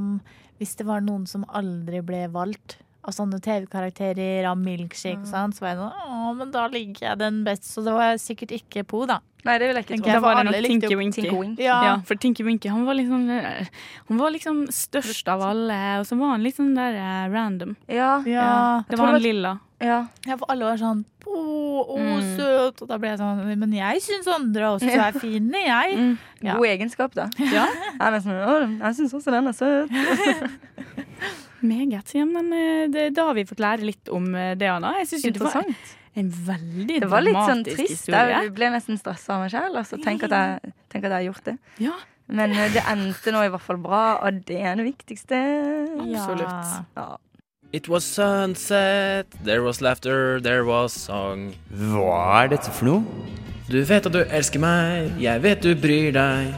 Speaker 4: Hvis det var noen som aldri ble valgt av sånne TV-karakterer, av milkshake og sånn, så var jeg sånn Å, men da liker jeg den best. Så det var sikkert ikke Po, da.
Speaker 5: Nei, det vil jeg ikke
Speaker 4: Tenker
Speaker 5: tro.
Speaker 4: jeg.
Speaker 3: Da
Speaker 4: for
Speaker 3: var det
Speaker 4: alle
Speaker 3: nok
Speaker 4: likte
Speaker 3: Tinky
Speaker 4: jo
Speaker 3: Winky.
Speaker 5: Tinky Winky.
Speaker 3: Ja. for Tinky Winky han var liksom eh, Hun var liksom størst av alle, og så var han litt sånn der eh, random.
Speaker 5: Ja.
Speaker 4: Ja.
Speaker 3: Det
Speaker 5: tror
Speaker 3: var
Speaker 5: det
Speaker 3: han lilla.
Speaker 5: ja.
Speaker 4: Ja, for alle var sånn Å, å søt. Og da ble jeg sånn Men jeg syns andre også er fine, jeg. Ja.
Speaker 5: God egenskap, da.
Speaker 3: Ja.
Speaker 5: Jeg, er mest sånn, «Å, jeg syns også den er søt.
Speaker 3: Meget. Ja, men eh, det, da har vi fått lære litt om eh, det, Anna. Jeg synes jo det var
Speaker 5: Interessant.
Speaker 3: en veldig
Speaker 5: Det var litt sånn
Speaker 3: dramatisk
Speaker 5: trist.
Speaker 3: historie.
Speaker 5: Jeg ble nesten stressa av meg sjøl. Altså, tenk, at jeg- tenk at jeg har gjort det.
Speaker 3: Ja,
Speaker 5: Men eh, det endte nå i hvert fall bra, og det er det viktigste.
Speaker 4: Absolutt.
Speaker 5: Ja.
Speaker 10: It was sunset, there was laughter, there was song.
Speaker 6: Hva er dette for noe?
Speaker 10: Du vet at du elsker meg, jeg vet du bryr deg.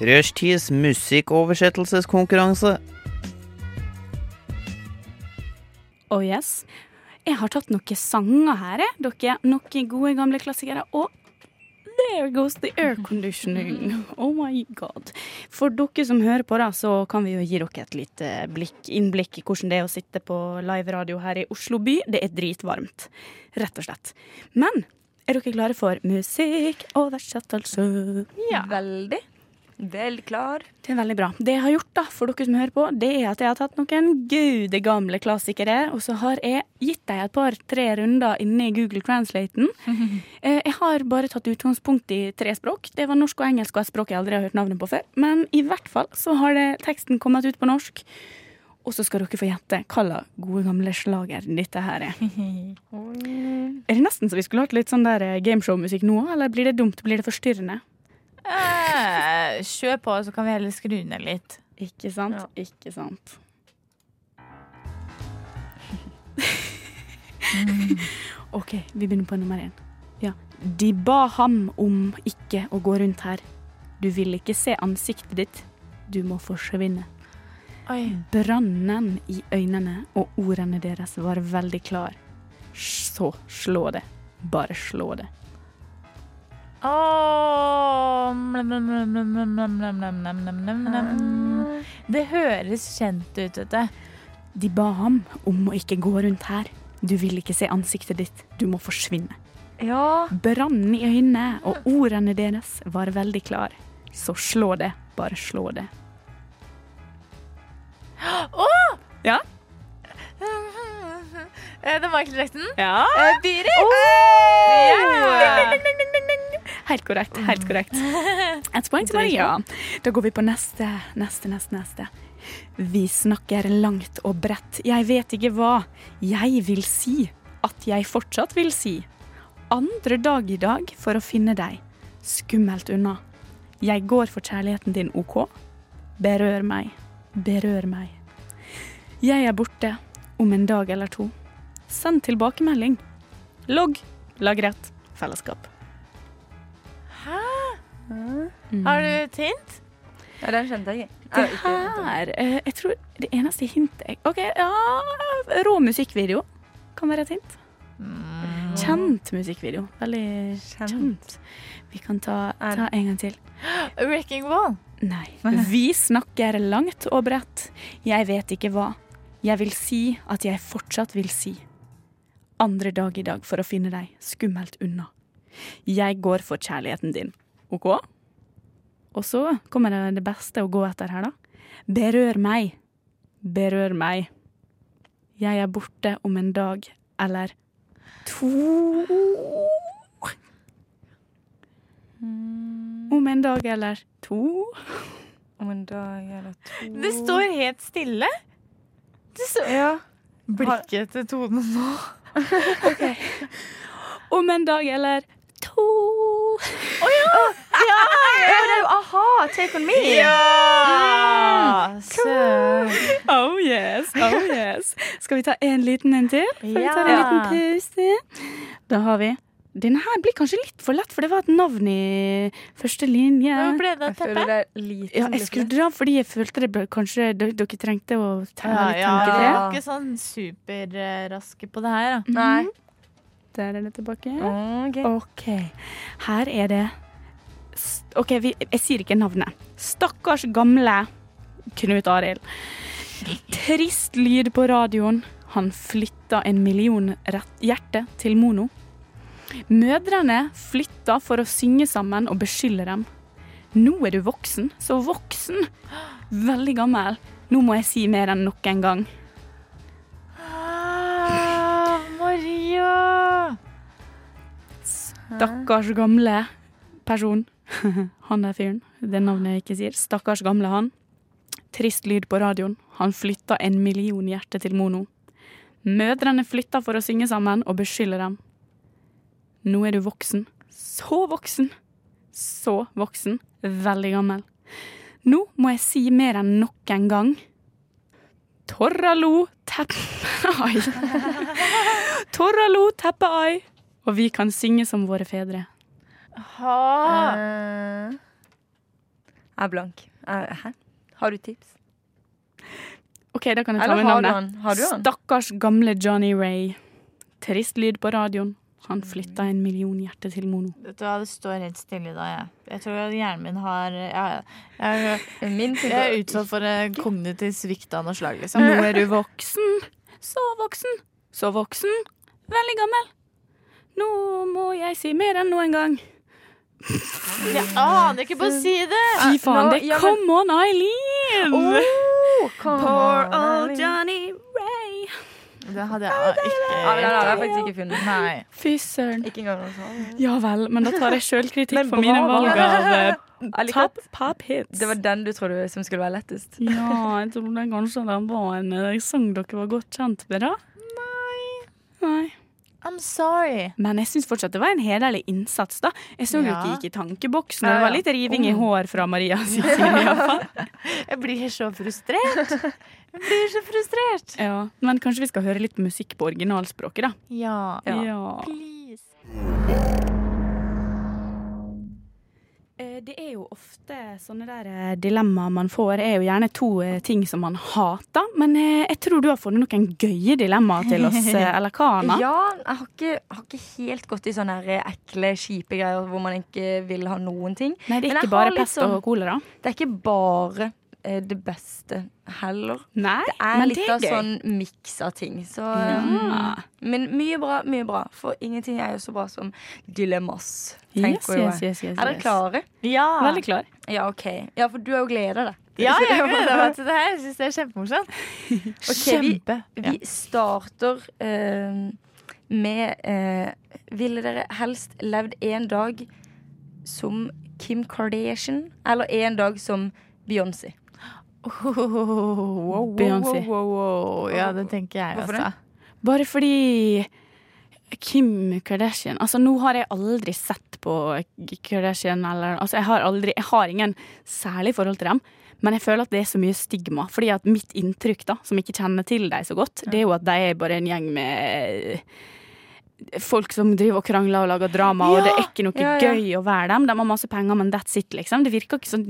Speaker 11: Rushtids musikkoversettelseskonkurranse.
Speaker 3: Oh yes. Jeg har tatt noen sanger her, jeg. Dere, noen gode gamle klassikere. Og there goes the air conditioning. Oh my god. For dere som hører på, da, så kan vi jo gi dere et lite blikk, innblikk i hvordan det er å sitte på liveradio her i Oslo by. Det er dritvarmt, rett og slett. Men er dere klare for musikk og versettelse?
Speaker 5: Veldig. Vel klar.
Speaker 3: Det er veldig bra. Det jeg har gjort, da, for dere som hører på, det er at jeg har tatt noen gude gamle klassikere, og så har jeg gitt dem et par-tre runder inne i Google Translaten. Eh, Jeg har bare tatt utgangspunkt i tre språk. Det var norsk og engelsk og et språk jeg aldri har hørt navnet på før. Men i hvert fall så har det, teksten kommet ut på norsk. Og så skal dere få gjette hva slags gode gamle slager dette her er. Er det nesten så vi skulle hatt litt sånn der eh, gameshow-musikk nå, eller blir det dumt? Blir det forstyrrende?
Speaker 4: Eh, kjør på, så kan vi heller skru ned litt.
Speaker 3: Ikke sant? Ikke sant. OK, vi begynner på nummer én. Ja. De ba ham om ikke å gå rundt her. Du vil ikke se ansiktet ditt. Du må forsvinne.
Speaker 4: Oi.
Speaker 3: Brannen i øynene og ordene deres var veldig klar. Så slå det. Bare slå det.
Speaker 4: Åh, mlem, mlem, mlem, mlem, mlem, mlem, mlem, mlem, mlem, mlem, mlem, mlem. Det høres kjent ut, vet du.
Speaker 3: De ba ham om å ikke gå rundt her. Du vil ikke se ansiktet ditt. Du må forsvinne.
Speaker 5: Ja.
Speaker 3: Brannen i øynene og ordene deres var veldig klar. Så slå det, bare slå det.
Speaker 4: Eh, Den var ikke direkten.
Speaker 3: Ja! Oh!
Speaker 4: Eh, Biri! Ja!
Speaker 3: Helt korrekt, helt korrekt. Et poeng til Maria. Da går vi på neste, neste, neste, neste. Vi snakker langt og bredt. Jeg vet ikke hva. Jeg vil si at jeg fortsatt vil si. Andre dag i dag for å finne deg. Skummelt unna. Jeg går for kjærligheten din, OK? Berør meg. Berør meg. Jeg er borte om en dag eller to. Send tilbakemelding. Logg. Lag rett. Fellesskap.
Speaker 4: Har du et hint?
Speaker 5: ja, den skjønte jeg ikke.
Speaker 3: Det
Speaker 5: Jeg har ikke-
Speaker 3: her eh, Jeg tror det eneste hintet jeg OK, ja Rå musikkvideo kan være et hint. Kjent musikkvideo. Veldig
Speaker 5: Mm. Kjent.
Speaker 3: kjent. Vi kan ta, ta en gang til.
Speaker 4: Wrecking Ball.
Speaker 3: Nei. Vi snakker langt og bredt. Jeg vet ikke hva. Jeg vil si at jeg fortsatt vil si. Andre dag i dag for å finne deg. Skummelt unna. Jeg går for kjærligheten din. OK. Og så kommer det det beste å gå etter her, da. Berør meg. Berør meg. Jeg er borte om en dag eller to. Om en dag eller to.
Speaker 5: Om en dag eller to
Speaker 4: Det står helt stille. Det står
Speaker 5: Ja.
Speaker 4: Blikket til Tone nå.
Speaker 3: Om en dag eller to.
Speaker 5: Ja, det er jo a-ha! Take on me!
Speaker 4: Ja! Søren.
Speaker 3: Oh yes, oh yes. Skal vi ta en liten en til? Før vi tar en liten pause. Da har vi Denne her blir kanskje litt for lett, for det var et navn i første linje.
Speaker 4: Hva ble det
Speaker 5: Jeg
Speaker 4: av teppet?
Speaker 5: føler det er lite
Speaker 3: Ja,
Speaker 5: som
Speaker 3: jeg
Speaker 5: blir
Speaker 3: skrudde
Speaker 5: for
Speaker 3: det av fordi jeg følte det bør- kanskje d- dere trengte å ta
Speaker 4: Ja,
Speaker 3: litt
Speaker 4: ja,
Speaker 3: tanke
Speaker 4: vi
Speaker 3: til.
Speaker 4: var ikke sånn superraske på det her. Da.
Speaker 5: Nei.
Speaker 3: Der er det tilbake. Mhm.
Speaker 5: Ok.
Speaker 3: OK. Her er det S- OK, vi, jeg sier ikke navnet. Stakkars gamle Knut Arild. Trist lyd på radioen. Han flytta en million rett- hjerte til Mono. Mødrene flytta for å synge sammen og beskylde dem. Nå er du voksen, så voksen. Veldig gammel. Nå må jeg si mer enn nok en gang.
Speaker 4: Ah, Maria!
Speaker 3: Stakkars gamle person. Han der fyren. Det navnet jeg ikke sier. Stakkars gamle han. Trist lyd på radioen. Han flytta en million hjerte til Mono. Mødrene flytta for å synge sammen og beskylde dem. Nå er du voksen. Så voksen. Så voksen. Veldig gammel. Nå må jeg si mer enn nok en gang. Torralo teppe-ai. Torralo teppe-ai. Og vi kan synge som våre fedre.
Speaker 4: Ha.
Speaker 5: Eh, Jeg er blank. Eh, Hæ? Har du tips?
Speaker 3: OK, da kan jeg ta
Speaker 5: Eller
Speaker 3: med
Speaker 5: har du
Speaker 3: navnet.
Speaker 5: han? Har du han?
Speaker 3: Stakkars gamle Johnny Ray. Trist lyd på radioen. Han flytta en million hjerte til Mono.
Speaker 4: Vet du hva, det står helt stille da, jeg. Jeg tror at hjernen min har Jeg, jeg,
Speaker 5: Min
Speaker 4: jeg
Speaker 5: sitter-
Speaker 4: er utsatt for eh, kognitiv svikt av noe slag, liksom.
Speaker 3: Nå er du voksen. Så voksen. Så voksen. Veldig gammel. Nå må jeg si mer enn noen gang.
Speaker 4: Jeg aner ikke på å si det!
Speaker 3: Fy faen,
Speaker 5: nå-
Speaker 3: det
Speaker 5: ja,
Speaker 3: er Come On Eileen!
Speaker 5: Oh, come
Speaker 3: Poor
Speaker 5: on,
Speaker 3: old
Speaker 5: Eileen.
Speaker 3: Johnny Ray.
Speaker 4: Det hadde jeg ikke
Speaker 5: Ja, men den har jeg faktisk ikke funnet.
Speaker 4: Nei.
Speaker 3: Fy søren.
Speaker 5: Ikke engang sånn. noe sånt.
Speaker 3: Ja vel, men da tar jeg sjølkritikk
Speaker 5: Men
Speaker 3: for mine
Speaker 5: bra,
Speaker 3: valg
Speaker 5: da.
Speaker 3: av eh,
Speaker 5: Jeg liker
Speaker 3: top
Speaker 5: at
Speaker 3: pop hits.
Speaker 5: det var den du trodde som skulle være lettest.
Speaker 3: Ja, jeg trodde kanskje det var en eh, sang dere var godt kjent med, da. Nei.
Speaker 4: I'm sorry.
Speaker 3: Men jeg syns fortsatt det var en hederlig innsats, da. Jeg så jo
Speaker 4: Ja.
Speaker 3: ikke gikk i tankeboksen,
Speaker 5: Ja,
Speaker 3: og det var
Speaker 5: ja.
Speaker 3: litt riving i hår fra Maria sin side, iallfall.
Speaker 4: Jeg blir så frustrert. Jeg blir så frustrert.
Speaker 3: Ja. Men kanskje vi skal høre litt musikk på originalspråket, da.
Speaker 4: Ja.
Speaker 3: ja.
Speaker 4: Please.
Speaker 3: Eh, Det er jo ofte sånne der eh, dilemmaer man får, er jo gjerne to eh, ting som man hater. Men eh, jeg tror du har funnet noen gøye dilemmaer til oss, eh, eller hva, Anna?
Speaker 5: Ja, jeg har ikke, har ikke helt gått i sånne her ekle, kjipe greier hvor man ikke vil ha noen ting.
Speaker 3: Nei, det
Speaker 5: Men
Speaker 3: er
Speaker 5: jeg
Speaker 3: ikke
Speaker 5: har
Speaker 3: bare
Speaker 5: litt
Speaker 3: pest
Speaker 5: sånn-
Speaker 3: og kolera.
Speaker 5: Det er ikke bare eh, det beste heller.
Speaker 3: Nei,
Speaker 5: Det er
Speaker 3: men
Speaker 5: litt
Speaker 3: det
Speaker 5: av
Speaker 3: er gøy.
Speaker 5: sånn miks av ting. Så,
Speaker 3: Ja.
Speaker 5: mm, men mye bra, mye bra. For ingenting er jo så bra som dilemmas,
Speaker 3: Yes,
Speaker 5: tenker jo
Speaker 3: yes,
Speaker 5: jeg.
Speaker 3: yes, yes,
Speaker 5: Er dere
Speaker 3: yes.
Speaker 5: klare?
Speaker 4: Ja.
Speaker 3: Veldig klar.
Speaker 5: Ja, OK. Ja, for du har jo gleda deg.
Speaker 4: Ja, jeg gleder meg til det her. Jeg syns det er kjempemorsomt.
Speaker 5: Ok, vi-
Speaker 4: Kjempe. Ja.
Speaker 5: Vi starter eh, med eh, Ville dere helst levd en dag som Kim Kardashian, eller en dag som Beyoncé?
Speaker 3: Beyoncé.
Speaker 4: Wow, wow, wow. Ja, det tenker jeg
Speaker 5: Hvorfor
Speaker 4: også.
Speaker 3: Bare fordi Kim Kardashian Altså, nå har jeg aldri sett på K- Kardashian eller Altså, jeg har aldri Jeg har ingen særlig forhold til dem. Men jeg føler at det er så mye stigma. Fordi at mitt inntrykk, da, som ikke kjenner til dem så godt, det er jo at de er bare en gjeng med folk som driver og krangler og lager drama, og det er ikke noe
Speaker 5: Ja, ja.
Speaker 3: gøy å være dem. De har masse penger, men that's it, liksom. Det virker ikke sånn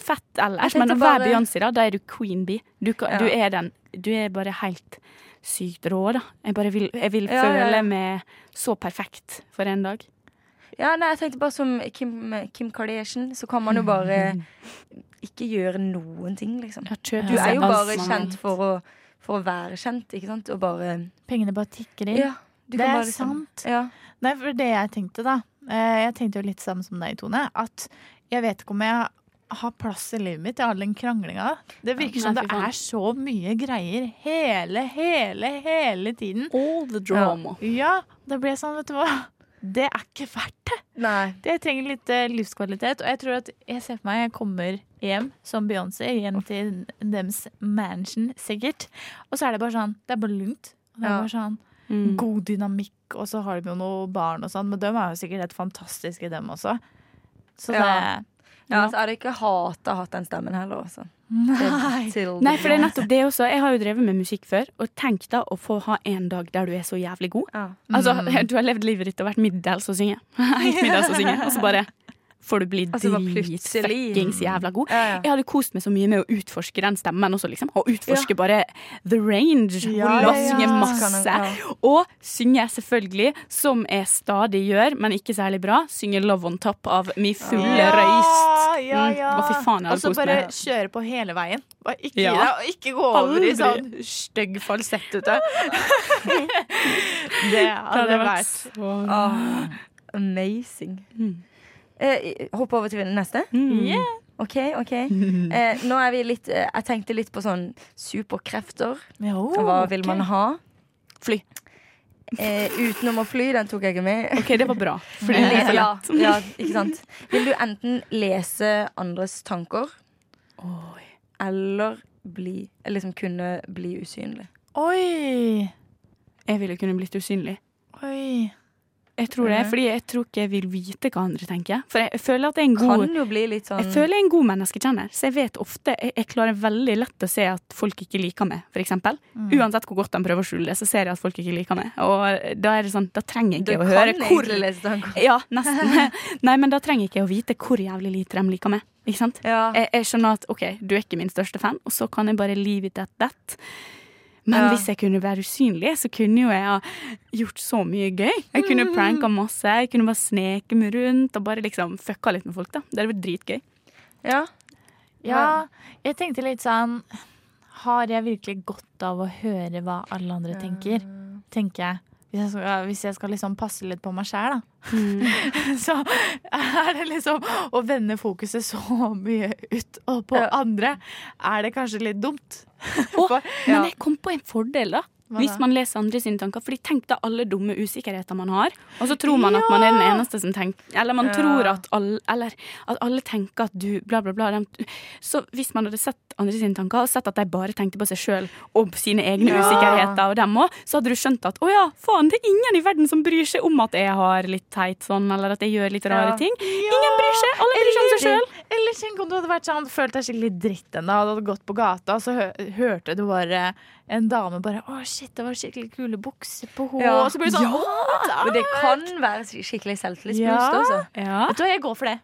Speaker 3: fett ellers.
Speaker 5: Jeg
Speaker 3: Men å
Speaker 5: tenkte
Speaker 3: være
Speaker 5: bare-
Speaker 3: Beyoncé, da, da er du queen bee. Du, kan,
Speaker 5: Ja.
Speaker 3: du er den Du er bare helt sykt rå, da. Jeg bare vil, jeg vil
Speaker 5: Ja, ja, ja.
Speaker 3: føle meg så perfekt for en dag.
Speaker 5: Ja, nei, jeg tenkte bare som Kim, Kim Kardashian, så kan man jo bare ikke gjøre noen ting, liksom. Du er jo bare kjent for å, for å være kjent, ikke sant? Og bare
Speaker 4: Pengene bare tikker inn.
Speaker 5: Ja, du
Speaker 4: det
Speaker 5: kan
Speaker 4: er
Speaker 5: bare liksom-
Speaker 4: sant.
Speaker 5: Ja.
Speaker 4: Nei, for det jeg tenkte, da, Eh, Jeg tenkte jo litt samme som deg, Tone. At jeg vet ikke om jeg har plass i livet mitt til all den kranglinga. Det virker som
Speaker 3: Nei,
Speaker 4: det
Speaker 3: fy faen.
Speaker 4: er så mye greier hele, hele, hele tiden.
Speaker 3: All the drama.
Speaker 4: Ja, da blir jeg sånn, vet du hva. Det er ikke verdt det.
Speaker 5: Nei.
Speaker 4: Jeg trenger litt eh, livskvalitet. Og jeg tror at jeg ser for meg jeg kommer hjem som Beyoncé, hjem til dems mansion, sikkert. Og så er det bare sånn Det er bare lunt. Og det er
Speaker 5: Ja.
Speaker 4: bare sånn
Speaker 3: Mm.
Speaker 4: god dynamikk, og så har de jo noen barn og sånn, men de er jo sikkert helt fantastiske, dem også. Så det
Speaker 5: Ja. Ja, altså, jeg hadde ikke hata hatt den stemmen heller, altså. Til- til-
Speaker 3: Nei, for det er nettopp det også. Jeg har jo drevet med musikk før, og tenk da å få ha en dag der du er så jævlig god.
Speaker 5: ja.
Speaker 3: Altså,
Speaker 5: Mm.
Speaker 3: du har levd livet ditt og vært middels og synge. Helt middels og synge, og så bare får du bli
Speaker 5: Altså, bare plutselig.
Speaker 3: dritfuckings jævla god.
Speaker 5: Ja, ja.
Speaker 3: Jeg hadde kost meg så mye med å utforske den stemmen også, liksom. Og utforske bare the range.
Speaker 5: Ja,
Speaker 3: Holde og
Speaker 5: ja, ja.
Speaker 3: synge
Speaker 5: Kan
Speaker 3: masse.
Speaker 5: jeg-
Speaker 3: Og synge, selvfølgelig, som jeg stadig gjør, men ikke særlig bra, synge Love on Top av Mi fulle røyst.
Speaker 4: ja,
Speaker 3: Mm,
Speaker 4: ja.
Speaker 3: å, fy faen, jeg hadde
Speaker 4: og så
Speaker 3: kost
Speaker 4: bare
Speaker 3: meg.
Speaker 4: kjøre på hele veien. Bare ikke,
Speaker 3: Ja.
Speaker 4: gi deg, og ikke gå over i
Speaker 3: Aldri.
Speaker 4: sånn stygg falsett ute. det hadde vært
Speaker 5: Åh, Ah. amazing.
Speaker 3: Mm.
Speaker 5: Eh, hopp over til neste.
Speaker 3: Mm.
Speaker 4: Yeah.
Speaker 5: OK, OK. Eh, nå er vi litt eh, Jeg tenkte litt på sånn superkrefter.
Speaker 4: Jo,
Speaker 5: Hva vil man ha?
Speaker 3: Oh, Fly.
Speaker 5: Eh, utenom å fly, den tok jeg ikke med.
Speaker 3: OK, det var bra. Mm. Fordi det er
Speaker 5: Le-
Speaker 3: så lett.
Speaker 5: Ja, ja, ikke sant. Vil du enten lese andres tanker eller bli Eller liksom kunne bli usynlig?
Speaker 4: Oi!
Speaker 3: Jeg ville kunne blitt usynlig.
Speaker 4: Oi.
Speaker 3: Jeg tror det,
Speaker 5: Mhm.
Speaker 3: fordi jeg tror ikke jeg vil vite hva andre tenker. For jeg føler at jeg er en god
Speaker 5: Kan jo bli litt sånn
Speaker 3: Jeg føler jeg er en god menneskekjenner, så jeg vet ofte Jeg, jeg klarer veldig lett å se at folk ikke liker meg, for eksempel.
Speaker 4: Mm.
Speaker 3: Uansett hvor godt de prøver å skjule det, så ser jeg at folk ikke liker meg. Og da er det sånn, da trenger jeg
Speaker 5: Du
Speaker 3: ikke å
Speaker 5: kan
Speaker 3: høre hvor
Speaker 5: egentlig lese tanker.
Speaker 3: Ja, nesten. Nei, men da trenger jeg ikke å vite hvor jævlig lite de liker meg. Ikke sant?
Speaker 5: Ja.
Speaker 3: Jeg, jeg skjønner at OK, du er ikke min største fan, og så kan jeg bare leave it at that. Men
Speaker 5: Ja.
Speaker 3: hvis jeg kunne være usynlig, så kunne jo jeg ha gjort så mye gøy. Jeg kunne pranka masse, jeg kunne bare sneke meg rundt og bare liksom fucka litt med folk. da. Det hadde vært dritgøy.
Speaker 5: ja.
Speaker 4: Ja, jeg tenkte litt sånn Har jeg virkelig godt av å høre hva alle andre tenker?
Speaker 5: Eh.
Speaker 4: Tenker jeg. Hvis jeg skal, hvis jeg skal liksom passe litt på meg sjæl, da.
Speaker 5: Mm.
Speaker 4: så er det liksom å vende fokuset så mye ut og på
Speaker 5: Ja.
Speaker 4: andre, er det kanskje litt dumt.
Speaker 3: Og,
Speaker 4: For-
Speaker 3: Men jeg kom på en fordel, da.
Speaker 4: Hva
Speaker 3: Hvis
Speaker 4: da?
Speaker 3: man leser andre sine tanker. Fordi tenk da alle dumme usikkerheter man har, og så tror man at man er den eneste som tenker Eller man tror at alle, eller, at alle tenker at du bla, bla, bla. dem- Så hvis man hadde sett andre sine tanker, og sett at de bare tenkte på seg sjøl og sine egne usikkerheter og dem òg, så hadde du skjønt at å ja, faen, det er ingen i verden som bryr seg om at jeg har litt teit sånn, eller at jeg gjør litt rare ting. Ingen bryr seg! Alle bryr seg om seg sjøl.
Speaker 4: Eller tenk om du hadde vært sånn, følt deg skikkelig dritt ennå, og du hadde gått på gata, og så hø hørte du bare en dame bare Å, shit, det var skikkelig kule bukser på henne.
Speaker 5: Ja.
Speaker 4: Og så blir du sånn
Speaker 5: Men det kan være skik- skikkelig selvtillitsboost
Speaker 4: Ja.
Speaker 5: også.
Speaker 3: Ja.
Speaker 4: Vet du hva, jeg går for det.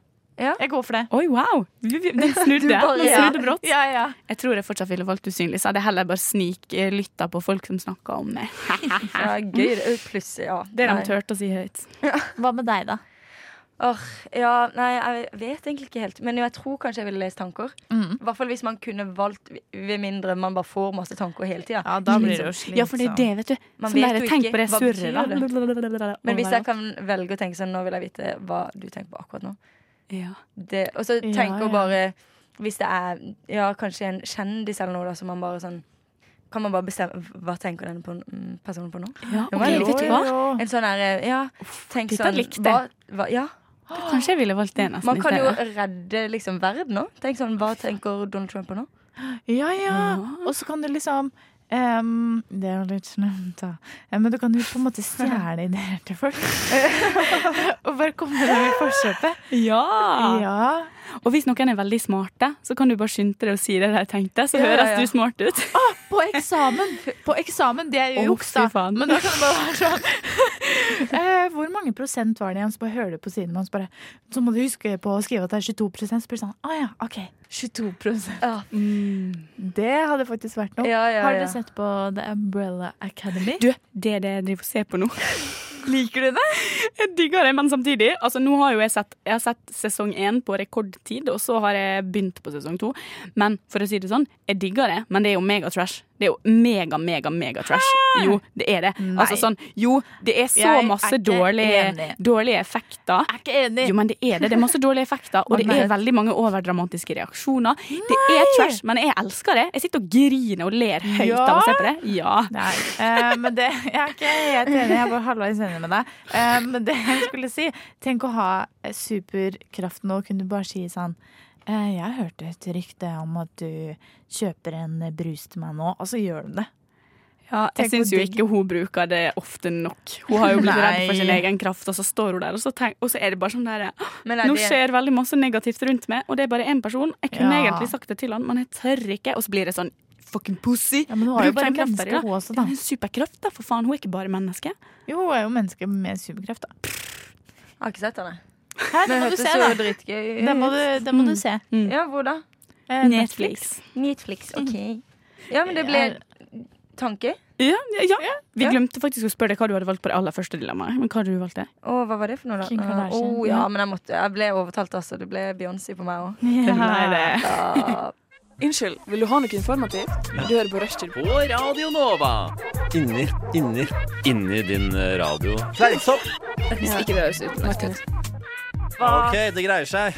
Speaker 5: Ja.
Speaker 4: Jeg går for det.
Speaker 3: Oi, wow! Vi- vi- Den snudde.
Speaker 5: bare-
Speaker 3: Den
Speaker 5: ja.
Speaker 3: snudde brått.
Speaker 4: Ja, ja.
Speaker 3: Jeg tror jeg fortsatt ville valgt usynlig, så hadde jeg heller bare sniklytta på folk som snakka om meg.
Speaker 5: Ja, gøy. det er jo Pluss, ja.
Speaker 3: Det de
Speaker 5: Nei.
Speaker 3: turte å si høyt.
Speaker 4: Hva med deg, da?
Speaker 5: Åh, ja, nei, jeg vet egentlig ikke helt. Men jo, jeg tror kanskje jeg ville lest tanker.
Speaker 4: Mm.
Speaker 5: I hvert fall hvis man kunne valgt, ved mindre man bare får masse tanker hele tida.
Speaker 4: Ja, da blir det jo
Speaker 3: Liksom. Ja, for det er det, vet du.
Speaker 5: Man
Speaker 3: Sånn
Speaker 5: vet
Speaker 3: der,
Speaker 5: jo
Speaker 3: tenk
Speaker 5: ikke,
Speaker 3: på det
Speaker 5: hva
Speaker 3: surret, da.
Speaker 5: betyr det?
Speaker 3: oh
Speaker 5: Men hvis jeg kan velge å tenke sånn, nå vil jeg vite hva du tenker på akkurat nå.
Speaker 3: ja.
Speaker 5: Det, og så tenker
Speaker 4: ja.
Speaker 5: bare Hvis det er ja, kanskje en kjendis eller noe, da, så man bare sånn Kan man bare bestemme hva tenker denne på, mm, personen på nå?
Speaker 3: ja
Speaker 5: Det
Speaker 3: ok,
Speaker 5: var jo-
Speaker 3: vet du hva?
Speaker 5: En sånn derre Ja, tenk
Speaker 3: dette
Speaker 5: sånn
Speaker 3: likte jeg.
Speaker 5: hva, hva, Ja.
Speaker 3: Kanskje jeg ville valgt det nesten.
Speaker 5: Man kan jo
Speaker 3: i stedet.
Speaker 5: redde liksom verden nå. Tenk sånn, Hva tenker Donald Trump på nå?
Speaker 4: Ja, ja. Og så kan du liksom ehm, Det er jo litt slemt, da. Eh, Men du kan jo på en måte stjele ideer til folk. og bare komme deg i forkjøpet.
Speaker 3: ja.
Speaker 4: Ja.
Speaker 3: Og hvis noen er veldig smarte, så kan du bare skynde deg å si det de tenkte, så
Speaker 5: Ja, ja,
Speaker 3: høres
Speaker 5: ja.
Speaker 3: du smart ut.
Speaker 4: Ah, På eksamen! På eksamen, Det er
Speaker 3: Å,
Speaker 4: jo juks,
Speaker 3: fy
Speaker 4: da.
Speaker 3: faen.
Speaker 4: Men da kan det bare være sånn eh, Hvor mange prosent var det igjen? Så bare hører du på siden hans, bare Så må du huske på å skrive at det er 22 Så blir det sånn Å ja, OK. 22 Det hadde faktisk vært noe.
Speaker 5: Ja, ja,
Speaker 4: Har
Speaker 5: ja.
Speaker 4: dere sett på The Umbrella Academy?
Speaker 3: Du, det er det jeg driver og ser på nå.
Speaker 5: Liker du det?
Speaker 3: Jeg digger det, men samtidig altså, Nå har jo jeg sett, jeg har sett sesong én på rekordtid, og så har jeg begynt på sesong to. Men for å si det sånn, jeg digger det, men det er jo megatrash. Det er jo mega, mega, megatrash. Jo, det er det. Altså sånn Jo, det er så
Speaker 4: Ah! Jeg er
Speaker 3: masse
Speaker 4: ikke
Speaker 3: dårlige,
Speaker 4: enig.
Speaker 3: dårlige effekter.
Speaker 4: Jeg er ikke enig.
Speaker 3: Jo, men det er det. Det er masse dårlige effekter, og det er veldig mange overdramatiske reaksjoner. Det er trash, men jeg elsker det. Jeg sitter og griner og ler høyt
Speaker 4: Ja.
Speaker 3: av å se på det. Ja.
Speaker 4: Nei, eh, men det, jeg er ikke helt enig. Jeg er bare halvveis enig med deg. Eh, men det jeg skulle si Tenk å ha superkraften og kunne bare si sånn eh, Jeg hørte et rykte om at du kjøper en brus til meg nå, og så gjør du det.
Speaker 3: Ja, jeg
Speaker 4: Tenk hvor
Speaker 3: syns jo
Speaker 4: digg.
Speaker 3: ikke hun bruker det ofte nok. Hun har jo blitt
Speaker 4: Nei.
Speaker 3: redd for sin egen kraft, og så står hun der, og så, tenk, og så er det bare sånn der
Speaker 5: Men er
Speaker 3: Nå
Speaker 5: det-
Speaker 3: skjer veldig masse negativt rundt meg, og det er bare én person. Jeg kunne
Speaker 4: Ja.
Speaker 3: egentlig sagt det til han, men jeg tør ikke. Og så blir det sånn fucking pussy.
Speaker 4: Ja, men hun har jo
Speaker 3: Bruk
Speaker 4: ikke
Speaker 3: den
Speaker 4: en
Speaker 3: kraften din,
Speaker 4: menneske,
Speaker 3: da.
Speaker 4: hun også,
Speaker 3: Det
Speaker 4: da.
Speaker 3: er en superkraft, da, for faen. Hun er ikke bare menneske.
Speaker 4: Jo, hun er jo menneske med superkraft, da.
Speaker 5: Jeg har ikke sett den, jeg. Men
Speaker 4: Her, det må du
Speaker 5: hørtes
Speaker 4: se,
Speaker 5: jo
Speaker 4: da.
Speaker 5: dritgøy ut.
Speaker 4: Det må du, det må du se.
Speaker 5: Ja, hvor da?
Speaker 4: Mm.
Speaker 5: Mhm.
Speaker 4: Eh,
Speaker 3: Netflix.
Speaker 5: Netflix, OK. Ja, men det ble tanke.
Speaker 3: Ja, ja, ja. Vi glemte faktisk å spørre deg hva du hadde valgt på det aller første dilemmaet. Men hva hadde du valgt det?
Speaker 5: Å, hva var det for noe, da?
Speaker 4: Kim Kardashian.
Speaker 5: Å, ja, men jeg, måtte, jeg ble overtalt, altså. Det ble Beyoncé på meg òg.
Speaker 4: Ja.
Speaker 5: Ja.
Speaker 3: eh.
Speaker 11: Unnskyld, vil du ha noe informativt? Du hører på Rushtid.
Speaker 10: På Radio Nova.
Speaker 6: Inni, inni
Speaker 10: Inni din eh, radio.
Speaker 6: Fleipsopp!
Speaker 7: Hvis ikke det høres ut Martin.
Speaker 10: OK, det greier seg.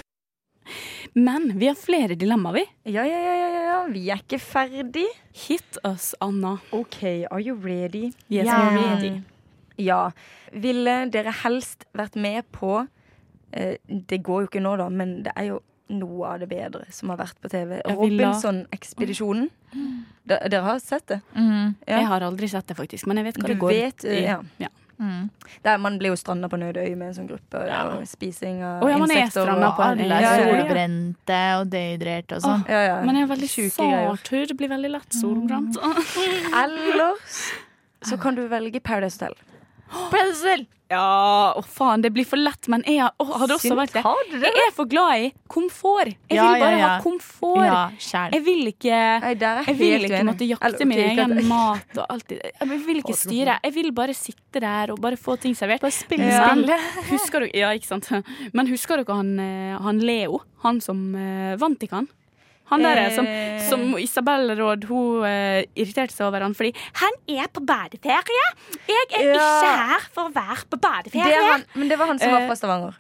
Speaker 3: Men vi har flere dilemmaer, vi.
Speaker 5: Ja, ja, ja, ja, ja, ja. Vi er ikke ferdig.
Speaker 3: Hit us, Anna.
Speaker 5: OK, are you ready?
Speaker 3: Yes,
Speaker 4: Ja.
Speaker 3: we're ready.
Speaker 5: Ja. Ville dere helst vært med på eh, Det går jo ikke nå, da, men det er jo noe av det bedre som har vært på TV.
Speaker 3: Ja, vi la- Mm.
Speaker 5: Robinson-ekspedisjonen. Da- Dere har sett det?
Speaker 4: Mm.
Speaker 5: Ja.
Speaker 3: Jeg har aldri sett det, faktisk, men jeg vet hva
Speaker 5: Du
Speaker 3: det går
Speaker 5: vet, eh,
Speaker 3: i.
Speaker 5: ja.
Speaker 3: Ja.
Speaker 4: Mm.
Speaker 5: Der man blir jo stranda på nødøy med en sånn gruppe. og det er jo Spising av
Speaker 3: Å, ja, man er
Speaker 5: insekter.
Speaker 3: stranda
Speaker 5: og-
Speaker 3: på en-
Speaker 4: Alle
Speaker 5: Ja,
Speaker 4: er
Speaker 5: ja, ja.
Speaker 4: solbrente og dehydrerte og sånn.
Speaker 5: Ja, ja.
Speaker 3: Men jeg er veldig
Speaker 5: Sjuke greier. Mm.
Speaker 3: sartur. Det blir veldig lett solbrent.
Speaker 5: Ellers så kan du velge Paradise Hotel.
Speaker 4: Pretzel!
Speaker 3: Ja, å faen, det blir for lett, men jeg har- å, hadde også
Speaker 5: Synd,
Speaker 3: vært det.
Speaker 5: har dere
Speaker 3: Jeg er for glad i komfort. Jeg
Speaker 4: Ja,
Speaker 3: vil bare
Speaker 4: ja, ja.
Speaker 3: ha komfort.
Speaker 4: Ja, sjæl.
Speaker 3: Jeg vil ikke
Speaker 5: Nei, der er
Speaker 3: jeg vil
Speaker 5: helt
Speaker 3: ikke
Speaker 5: uenig.
Speaker 3: måtte
Speaker 5: Eller,
Speaker 3: jakte
Speaker 5: ok,
Speaker 3: min
Speaker 5: ikke at-
Speaker 3: egen mat og alt det Jeg vil ikke styre. Jeg vil bare sitte der og bare få ting servert.
Speaker 5: Ja.
Speaker 3: Men Husker du, ja, ikke sant? Men husker dere han, eh, han Leo? Han som eh, vant ikke han? Han der eh, som,
Speaker 5: Eh.
Speaker 3: som Isabel Råd hun eh, irriterte seg over han fordi Han er på badeferie! Jeg er
Speaker 5: Ja.
Speaker 3: ikke her for å være på
Speaker 5: Det er
Speaker 3: badeferie!
Speaker 5: han, men det var han som var
Speaker 3: Eh,
Speaker 5: fra Stavanger.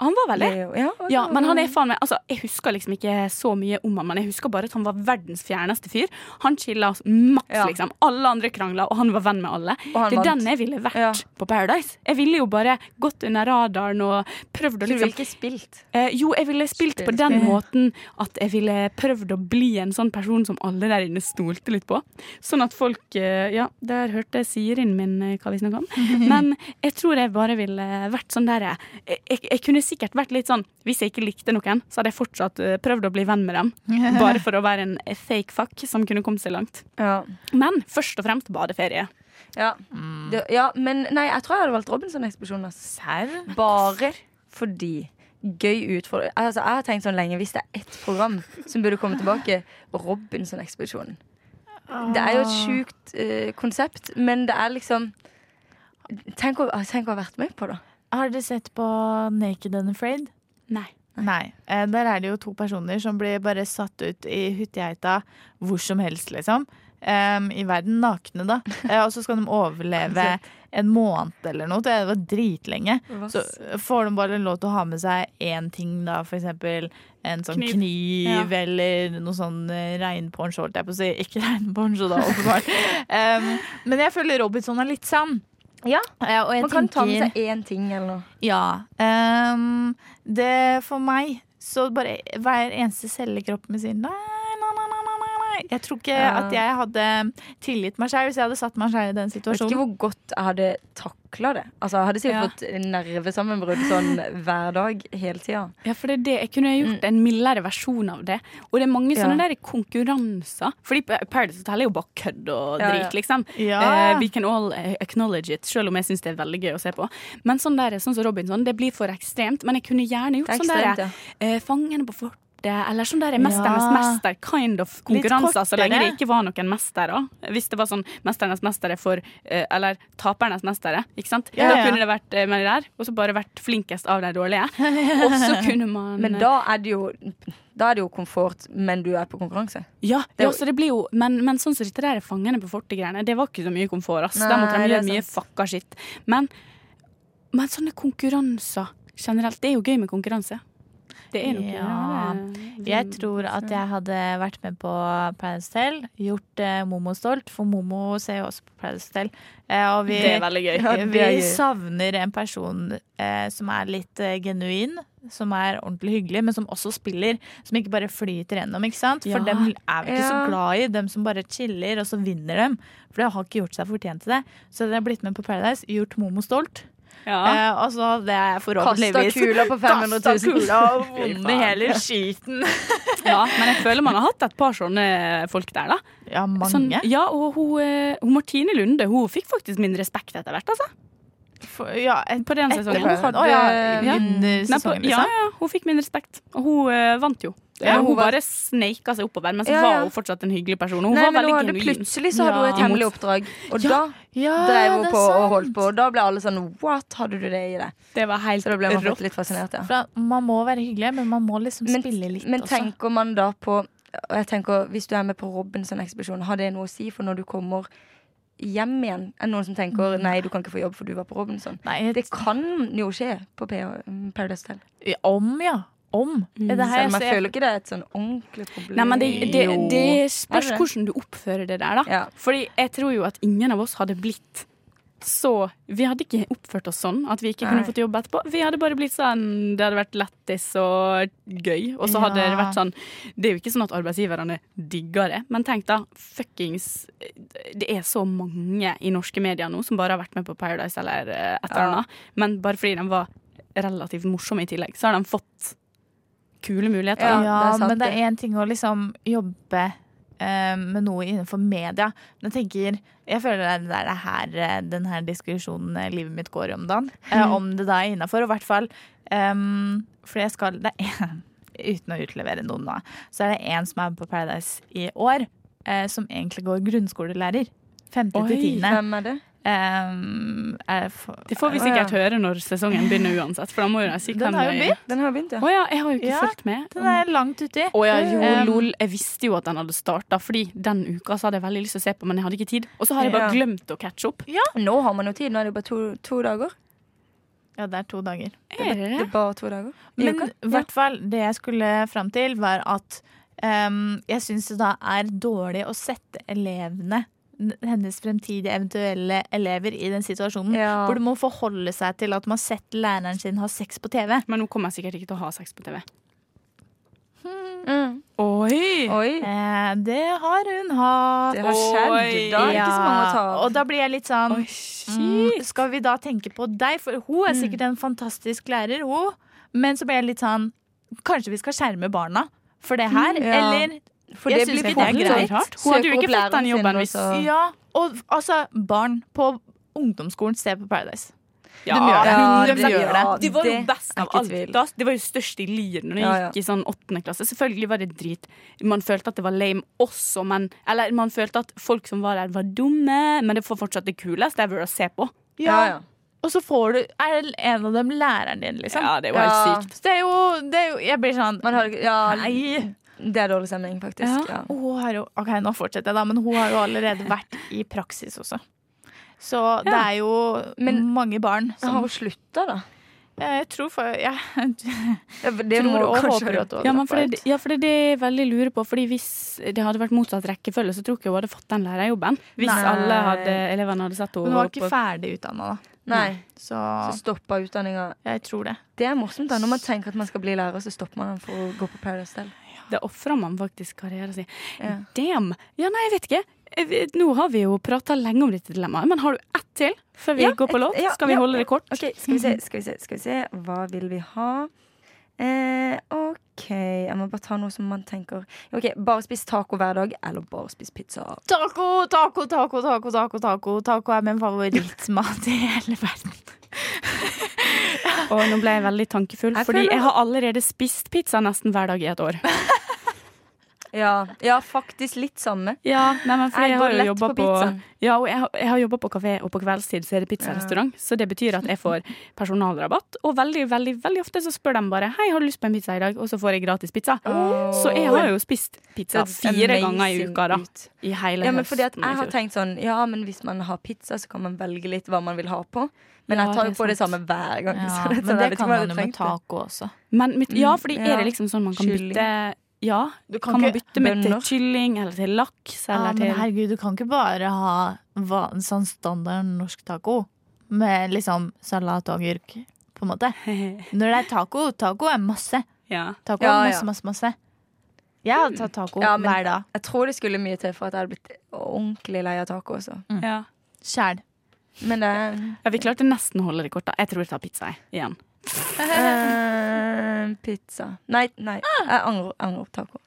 Speaker 3: Han var vel det.
Speaker 5: Leo. Ja,
Speaker 3: Ja, men han er faen meg altså, Jeg husker liksom ikke så mye om han, men jeg husker bare at han var verdens fjerneste fyr. Han chilla maks,
Speaker 5: Ja.
Speaker 3: liksom. Alle andre krangla, og han var venn med alle.
Speaker 5: Og han
Speaker 3: Det er
Speaker 5: vant.
Speaker 3: den jeg ville vært
Speaker 5: Ja.
Speaker 3: på Paradise. Jeg ville jo bare gått under radaren og prøvd å
Speaker 5: Du vil
Speaker 3: liksom
Speaker 5: ikke spilt.
Speaker 3: eh, Jo, jeg ville spilt eh. på
Speaker 5: Spill.
Speaker 3: den måten at jeg ville prøvd å bli en sånn person som alle der inne stolte litt på. Sånn at folk eh, Ja, der hørte Sirin min eh, hva vi snakka om. Men jeg tror jeg bare ville vært sånn der jeg, jeg, jeg kunne sikkert vært litt sånn Hvis jeg ikke likte noen, så hadde jeg fortsatt eh, prøvd å bli venn med dem. Bare for å være en fake fuck som kunne kommet seg langt.
Speaker 5: Ja.
Speaker 3: Men først og fremst badeferie.
Speaker 5: Ja. Det, ja, men nei, jeg tror jeg hadde valgt Robinson-ekspedisjonen. ass.
Speaker 4: Serr?
Speaker 5: Bare fordi. Gøy utfordring. Altså, jeg har tenkt sånn lenge Hvis det er ett program som burde komme tilbake, Robinson-ekspedisjonen. Det er jo et sjukt eh, konsept, men det er liksom Tenk å, ah, tenk å ha vært med på, da.
Speaker 4: Har dere sett på Naked and Afraid?
Speaker 3: Nei.
Speaker 4: Nei. Eh, Der er det jo to personer som blir bare satt ut i hyttegeita hvor som helst, liksom. Em, I verden nakne, da. Eh, og så skal de overleve en måned eller noe. Det var dritlenge. Så får de bare lov til å ha med seg én ting, da. For eksempel en sånn
Speaker 3: Kniv.
Speaker 4: kniv, eller noe sånn eh, regnponcho, holdt jeg på å si. Ikke regnponcho, da, åpenbart. Em, men jeg føler Robinson er litt sann.
Speaker 5: Ja.
Speaker 4: Eh, og jeg
Speaker 5: Man kan ta med
Speaker 4: tenker-
Speaker 5: seg én ting eller noe.
Speaker 4: ja. ehm, det for meg Så bare hver eneste celle i kroppen min sier nei, nei, nei, nei, nei, nei, nei. Jeg tror ikke
Speaker 5: Ja.
Speaker 4: at jeg hadde tilgitt meg sjøl hvis jeg hadde satt meg sjøl i den
Speaker 5: Jeg vet ikke
Speaker 4: situasjonen.
Speaker 5: hvor godt jeg hadde takla det. Altså, jeg hadde sikkert fått nervesammenbrudd sånn hver dag hele tida.
Speaker 3: Ja, for det er det. Jeg kunne gjort en mildere versjon av det. Og det er mange sånne
Speaker 5: Ja.
Speaker 3: der konkurranser. Fordi Pa- Paradise Hotel er jo bare kødd og
Speaker 5: Ja,
Speaker 3: drit,
Speaker 5: ja.
Speaker 3: liksom.
Speaker 4: Ja.
Speaker 3: Eh, we can all eh, acknowledge it, selv om jeg syns det er veldig gøy å se på. Men sånn der, sånn som Robinson, det blir for ekstremt. Men jeg kunne gjerne gjort
Speaker 5: Det er
Speaker 3: sånn der
Speaker 5: ekstremt,
Speaker 3: eh, Fangene på fortet. det, eller sånn der Mesternes
Speaker 4: Ja.
Speaker 3: mester, kind of
Speaker 4: Litt
Speaker 3: konkurranser, så lenge det
Speaker 4: kortere.
Speaker 3: ikke var noen mestere. Hvis det var sånn Mesternes mestere for eh, Eller Tapernes mestere, ikke sant.
Speaker 4: Ja,
Speaker 3: da
Speaker 4: ja.
Speaker 3: kunne det vært eh, med de der, og så bare vært flinkest av de dårlige. Og så kunne man eh,
Speaker 5: Men da er det jo Da er det jo komfort, men du er på konkurranse.
Speaker 3: Ja,
Speaker 5: Det er
Speaker 3: ja
Speaker 5: jo-
Speaker 3: så det blir jo Men, men sånn som dette der Fangene på fortet-greiene, det var ikke så mye komfort, ass. Der måtte de
Speaker 5: Nei, det er
Speaker 3: gjøre mye fucka shit. Men, men sånne konkurranser generelt Det er jo gøy med konkurranse. Det er noe
Speaker 4: Ja.
Speaker 3: med det.
Speaker 4: Jeg tror at jeg hadde vært med på Paradise Hotel, gjort eh, Momo stolt, for Momo ser jo også på Paradise Hotel. Eh, og vi,
Speaker 3: Det er veldig gøy.
Speaker 4: Ja,
Speaker 5: det
Speaker 4: Eh, vi
Speaker 5: er gøy.
Speaker 4: savner en person eh, som er litt eh, genuin, som er ordentlig hyggelig, men som også spiller. Som ikke bare flyter gjennom, ikke sant? For
Speaker 3: Ja.
Speaker 4: dem er vi ikke
Speaker 5: Ja.
Speaker 4: så glad i. Dem som bare chiller, og så vinner dem. For de har ikke gjort seg fortjent til det. Så de har blitt med på Paradise, gjort Momo stolt.
Speaker 3: Ja.
Speaker 4: Eh, og så hadde jeg
Speaker 5: Kasta
Speaker 4: forhåpentligvis
Speaker 5: kula på 500 000.
Speaker 4: Kasta kula og vond i hele skiten.
Speaker 3: ja, men jeg føler man har hatt et par sånne folk der, da.
Speaker 4: Ja, mange.
Speaker 3: Sånn, ja, og hun, eh, hun Martine Lunde hun fikk faktisk min respekt etter hvert, altså.
Speaker 4: For, ja, et,
Speaker 3: På den
Speaker 4: etter
Speaker 3: sesongen.
Speaker 4: Paradise. Å ja,
Speaker 3: Ja.
Speaker 4: under
Speaker 3: Nei, på,
Speaker 4: sesongen,
Speaker 3: ja,
Speaker 4: liksom.
Speaker 3: ja, hun fikk min respekt, og hun eh, vant jo.
Speaker 5: Ja,
Speaker 3: hun,
Speaker 5: hun var-
Speaker 3: bare sneika seg oppover, men så
Speaker 5: Ja, ja.
Speaker 3: var hun fortsatt en hyggelig person. Hun
Speaker 5: Nei,
Speaker 3: var
Speaker 5: men hun
Speaker 3: veldig
Speaker 5: hadde
Speaker 3: genuin.
Speaker 5: plutselig så hadde hun et
Speaker 3: Ja.
Speaker 5: hemmelig oppdrag, og
Speaker 4: Ja,
Speaker 5: da drev hun
Speaker 4: det er
Speaker 5: på og holdt
Speaker 4: sant.
Speaker 5: på. Og da ble alle sånn What, hadde du det i deg?
Speaker 3: Det var helt
Speaker 5: Så da ble man
Speaker 3: rått.
Speaker 5: fått litt fascinert, ja.
Speaker 4: For at man må være hyggelig, men man må liksom
Speaker 5: Men,
Speaker 4: spille litt
Speaker 5: men
Speaker 4: også.
Speaker 5: tenker man da på og jeg tenker, Hvis du er med på Robinson-ekspedisjonen, har det noe å si for når du kommer hjem igjen? Er det noen som tenker nei, du kan ikke få jobb for du var på Robinson?
Speaker 4: Nei, jeg-
Speaker 5: Det kan jo skje på PH Paradise Hotel.
Speaker 4: Om, ja. Om. Det her,
Speaker 5: Selv om
Speaker 4: så
Speaker 5: jeg
Speaker 4: jeg-
Speaker 5: føler ikke det er et sånn ordentlig problem.
Speaker 3: Nei, men det, det,
Speaker 5: Jo.
Speaker 3: det
Speaker 5: Er
Speaker 3: spørs
Speaker 5: det?
Speaker 3: hvordan du oppfører det der, da.
Speaker 5: Ja.
Speaker 3: Fordi jeg tror jo at ingen av oss hadde blitt så Vi hadde ikke oppført oss sånn at vi ikke kunne
Speaker 5: Nei.
Speaker 3: fått jobb etterpå. Vi hadde bare blitt sånn Det hadde vært lættis og gøy. Og så hadde
Speaker 4: Ja.
Speaker 3: det vært sånn Det er jo ikke sånn at arbeidsgiverne digger det, men tenk da, fuckings Det er så mange i norske medier nå som bare har vært med på Paradise eller eh, et eller
Speaker 5: Ja.
Speaker 3: annet, men bare fordi de var relativt morsomme i tillegg, så har de fått kule muligheter.
Speaker 5: Ja,
Speaker 4: Ja,
Speaker 3: da.
Speaker 5: det er sant,
Speaker 4: men det
Speaker 5: det.
Speaker 4: er én ting å liksom jobbe eh, med noe innenfor media. Men jeg tenker, jeg føler det er- det er det her eh, den her diskusjonen eh, livet mitt går i om dagen.
Speaker 5: Mm.
Speaker 4: Eh, om det da er innafor. Og i hvert fall um, For jeg skal det er, Uten å utlevere noen nå, så er det én som er på Paradise i år, eh, som egentlig går grunnskolelærer. Femte
Speaker 3: Oi.
Speaker 4: til tiende.
Speaker 5: Hvem er det?
Speaker 4: Um, er for,
Speaker 3: Det får vi
Speaker 5: Å,
Speaker 3: sikkert
Speaker 5: ja.
Speaker 3: høre når sesongen begynner uansett. For da må jo de si
Speaker 4: Den
Speaker 3: hvem
Speaker 4: har jo
Speaker 3: de-
Speaker 4: begynt.
Speaker 5: Den har jo begynt, ja.
Speaker 3: Å ja, jeg har jo ikke
Speaker 4: Ja,
Speaker 3: fulgt med.
Speaker 4: Den er langt uti.
Speaker 3: Å ja, jo,
Speaker 4: Um,
Speaker 3: lol. Jeg visste jo at den hadde starta, Fordi den uka så hadde jeg veldig lyst til å se på, men jeg hadde ikke tid. Og så har jeg bare
Speaker 5: Ja.
Speaker 3: glemt å catche opp.
Speaker 5: Nå har man jo tid. Nå er det jo bare to, to dager.
Speaker 4: Ja, det er to dager.
Speaker 3: Er det
Speaker 5: Det
Speaker 3: det?
Speaker 5: er bare to dager. I
Speaker 4: Men
Speaker 5: uka.
Speaker 4: i hvert fall, det jeg skulle fram til, var at ehm, jeg syns det da er dårlig å sette elevene, n- hennes fremtidige eventuelle elever, i den situasjonen.
Speaker 5: Ja.
Speaker 4: Mm. Hvor du må forholde seg til at man har sett læreren sin ha sex på TV.
Speaker 3: Men nå kommer jeg sikkert ikke til å ha sex på TV.
Speaker 5: Mm.
Speaker 3: Oi!
Speaker 5: Oi.
Speaker 4: Eh, det har hun hatt.
Speaker 5: Det har skjedd.
Speaker 3: Oi.
Speaker 5: Da er det ikke så mange å ta
Speaker 4: Ja,
Speaker 5: av.
Speaker 4: og da blir jeg litt sånn
Speaker 3: Oi,
Speaker 4: Mm,
Speaker 3: shit.
Speaker 4: skal vi da tenke på deg? For hun er sikkert en fantastisk lærer, hun. Men så ble jeg litt sånn Kanskje vi skal skjerme barna for det her?
Speaker 5: Ja.
Speaker 4: Eller
Speaker 5: For
Speaker 4: Jeg
Speaker 5: det
Speaker 4: synes
Speaker 5: blir
Speaker 4: ikke det
Speaker 5: fort
Speaker 4: er greit.
Speaker 5: sånn.
Speaker 3: Hun hadde jo ikke
Speaker 5: Søker opp
Speaker 3: fått den
Speaker 5: læreren
Speaker 3: jobben
Speaker 5: sin,
Speaker 3: hvis-
Speaker 5: og så-
Speaker 4: Ja. Og altså, barn på ungdomsskolen ser på Paradise.
Speaker 3: Ja,
Speaker 4: de gjør det.
Speaker 5: Ja, de
Speaker 3: 100%
Speaker 5: gjør det.
Speaker 3: De var jo
Speaker 5: Det er
Speaker 3: best av
Speaker 5: ikke
Speaker 3: alt.
Speaker 5: tvil.
Speaker 3: Da. De var jo størst i Lier når de
Speaker 5: Ja, ja.
Speaker 3: gikk i sånn åttende klasse. Selvfølgelig var det drit. Man følte at det var lame også, men Eller man følte at folk som var der, var dumme, men det var fortsatt det kuleste jeg burde se på.
Speaker 5: Ja, ja.
Speaker 4: Og så får du Er en av dem læreren din, liksom?
Speaker 3: Ja, det var helt
Speaker 5: Ja.
Speaker 3: sykt.
Speaker 4: Så det er jo, det er jo Jeg blir sånn
Speaker 5: Man har, ja,
Speaker 4: Nei.
Speaker 5: det er dårlig stemning, faktisk. Ja.
Speaker 4: Og Hun har jo, ok, nå fortsetter jeg da, men hun har jo allerede vært i praksis også. Så det er jo
Speaker 5: Men-
Speaker 4: mange barn
Speaker 5: Har
Speaker 4: som
Speaker 5: hun slutta, da?
Speaker 4: Jeg tror for Jeg
Speaker 5: Ja, for Det
Speaker 4: tror og
Speaker 5: kanskje-
Speaker 4: håper at hun har
Speaker 3: Ja, men for
Speaker 4: droppet
Speaker 3: det,
Speaker 4: ut.
Speaker 3: ja, for det er det jeg veldig lurer på. Fordi hvis det hadde vært motsatt rekkefølge, så tror jeg ikke hun hadde fått den lærerjobben. Hvis
Speaker 5: Nei.
Speaker 3: alle hadde, elevene hadde sett
Speaker 4: Men hun
Speaker 3: henne
Speaker 4: var ikke ferdig utdanna, da.
Speaker 5: Nei,
Speaker 4: Så
Speaker 5: så stoppa utdanninga.
Speaker 4: jeg tror det.
Speaker 5: Det er morsomt da, når man tenker at man skal bli lærer, så stopper man den for å gå på Paradise Hotel.
Speaker 3: Det ofrer man faktisk karrieren sin.
Speaker 5: Ja.
Speaker 3: Damn! Ja, nei, jeg vet ikke. Jeg vet- Nå har vi jo prata lenge om dette dilemmaet, men har du ett til før vi
Speaker 5: Ja,
Speaker 3: går på
Speaker 5: et-
Speaker 3: låt?
Speaker 5: ja,
Speaker 3: Skal vi
Speaker 5: ja.
Speaker 3: holde det kort?
Speaker 5: Ok, skal vi se, skal vi se, skal vi se. Hva vil vi ha? Eh, OK, jeg må bare ta noe som man tenker Ok, Bare spis taco hver dag, eller bare spis pizza.
Speaker 4: Taco, taco, taco, taco, taco. Taco Taco er min favorittmat i hele verden.
Speaker 3: Å Og nå ble jeg veldig tankefull,
Speaker 5: Jeg
Speaker 3: fordi
Speaker 5: føler-
Speaker 3: jeg har allerede spist pizza nesten hver dag i et år.
Speaker 5: Ja, ja, faktisk litt samme.
Speaker 3: Ja, nei, men fordi
Speaker 5: Jeg
Speaker 3: jeg
Speaker 5: går
Speaker 3: har jo
Speaker 5: lett
Speaker 3: jobba
Speaker 5: på
Speaker 3: på,
Speaker 5: pizzaen.
Speaker 3: ja, og jeg, har- jeg har jobbet på kafé, og på kveldstid så er det pizzarestaurant. Så det betyr at jeg får personalrabatt. Og veldig, veldig veldig ofte så spør de bare Hei, har du lyst på en pizza i dag? Og så får jeg gratis pizza. Så jeg har jo spist pizza
Speaker 5: Det er
Speaker 3: fire ganger i
Speaker 5: amazing
Speaker 3: uka, da.
Speaker 5: ut.
Speaker 3: I hele
Speaker 5: Ja, men fordi at
Speaker 3: høsten i
Speaker 5: jeg har
Speaker 3: fjor.
Speaker 5: tenkt sånn Ja, men hvis man har pizza, så kan man velge litt hva man vil ha på. Men
Speaker 3: Ja,
Speaker 5: jeg tar
Speaker 3: det
Speaker 5: jo
Speaker 3: er
Speaker 5: på det
Speaker 3: sant.
Speaker 5: samme hver gang.
Speaker 4: Ja,
Speaker 5: så det er sånn,
Speaker 4: men
Speaker 5: jeg
Speaker 4: det
Speaker 5: vet ikke
Speaker 4: kan
Speaker 5: om jeg
Speaker 4: man jo
Speaker 5: hadde trengt
Speaker 4: med
Speaker 5: det.
Speaker 4: taco også.
Speaker 3: Men mitt, ja,
Speaker 5: Mm,
Speaker 3: fordi
Speaker 5: ja.
Speaker 3: er det liksom sånn man kan
Speaker 5: Kylling.
Speaker 3: bytte Ja,
Speaker 4: Du
Speaker 3: kan man
Speaker 4: ikke-
Speaker 3: bytte med til
Speaker 5: bønner.
Speaker 3: kylling eller til laks
Speaker 4: Ja,
Speaker 5: Ah,
Speaker 3: eller
Speaker 4: men
Speaker 3: til
Speaker 4: herregud, du kan ikke bare ha hva- en sånn standard norsk taco med liksom salat og agurk, på en måte. Når det er taco, taco er masse.
Speaker 3: Ja.
Speaker 4: Taco
Speaker 5: Ja,
Speaker 4: er
Speaker 5: ja.
Speaker 4: masse, masse, masse. Jeg hadde tatt taco
Speaker 5: Ja, men-
Speaker 4: hver dag.
Speaker 5: Jeg tror det skulle mye til for at jeg hadde blitt ordentlig lei av taco også.
Speaker 3: Ja.
Speaker 4: Sjæl.
Speaker 5: Men det
Speaker 3: ja, vi klarte nesten å holde det kort, da. Jeg tror jeg tar pizza jeg, igjen.
Speaker 5: eh, Pizza. Nei, nei.
Speaker 3: Ah.
Speaker 5: Jeg angrer, angrer på taco.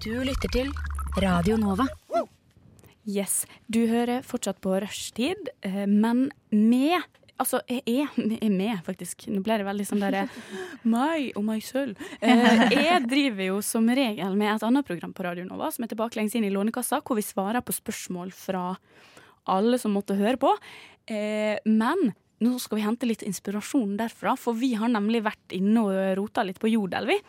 Speaker 7: Du lytter til Radio Nova.
Speaker 3: Yes. Du hører fortsatt på rushtid, eh, men med Altså, jeg er, jeg er med, faktisk. Nå ble det veldig sånn derre meg og meg selv. Eh, Jeg driver jo som regel med et annet program på Radio Nova som er tilbakelengs inn i Lånekassa, hvor vi svarer på spørsmål fra alle som måtte høre på. Eh, Men nå skal vi hente litt inspirasjon derfra, for vi har nemlig vært inne og rota litt på Jodel, vi.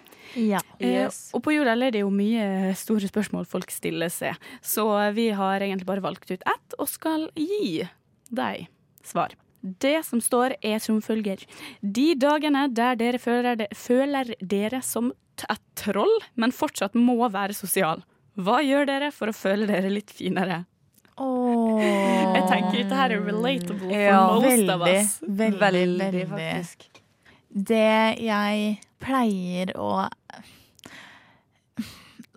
Speaker 4: Ja.
Speaker 3: Eh, og på Jordal er det jo mye store spørsmål folk stiller seg. Så vi har egentlig bare valgt ut ett og skal gi deg svar. Det som står er som følger. De dagene der dere føler, de, føler dere som t- et troll, men fortsatt må være sosial. Hva gjør dere for å føle dere litt finere? Jeg tenker dette her er relatable for
Speaker 4: Ja,
Speaker 3: most
Speaker 4: veldig,
Speaker 3: of us.
Speaker 4: veldig, veldig,
Speaker 5: faktisk.
Speaker 4: Det jeg pleier å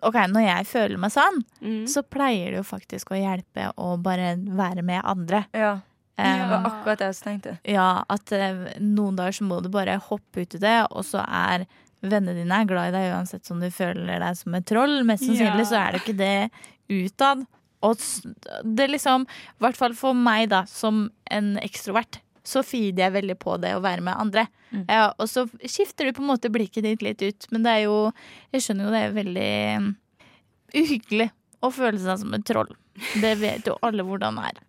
Speaker 4: OK, når jeg føler meg sånn,
Speaker 3: Mm.
Speaker 4: så pleier det jo faktisk å hjelpe å bare være med andre.
Speaker 5: Ja. Det
Speaker 4: Um,
Speaker 5: var akkurat det jeg også tenkte.
Speaker 4: Ja, at eh, noen dager så må du bare hoppe ut i det, og så er vennene dine er glad i deg uansett som du føler deg som et troll. Mest sannsynlig så er det ikke det utad. Og s- det liksom, i hvert fall for meg da, som en ekstrovert, så feeder jeg veldig på det å være med andre.
Speaker 3: Mm.
Speaker 4: Ja, og så skifter du på en måte blikket ditt litt ut, men det er jo, jeg skjønner jo det er veldig mm, uhyggelig å føle seg som et troll. Det vet jo alle hvordan det er.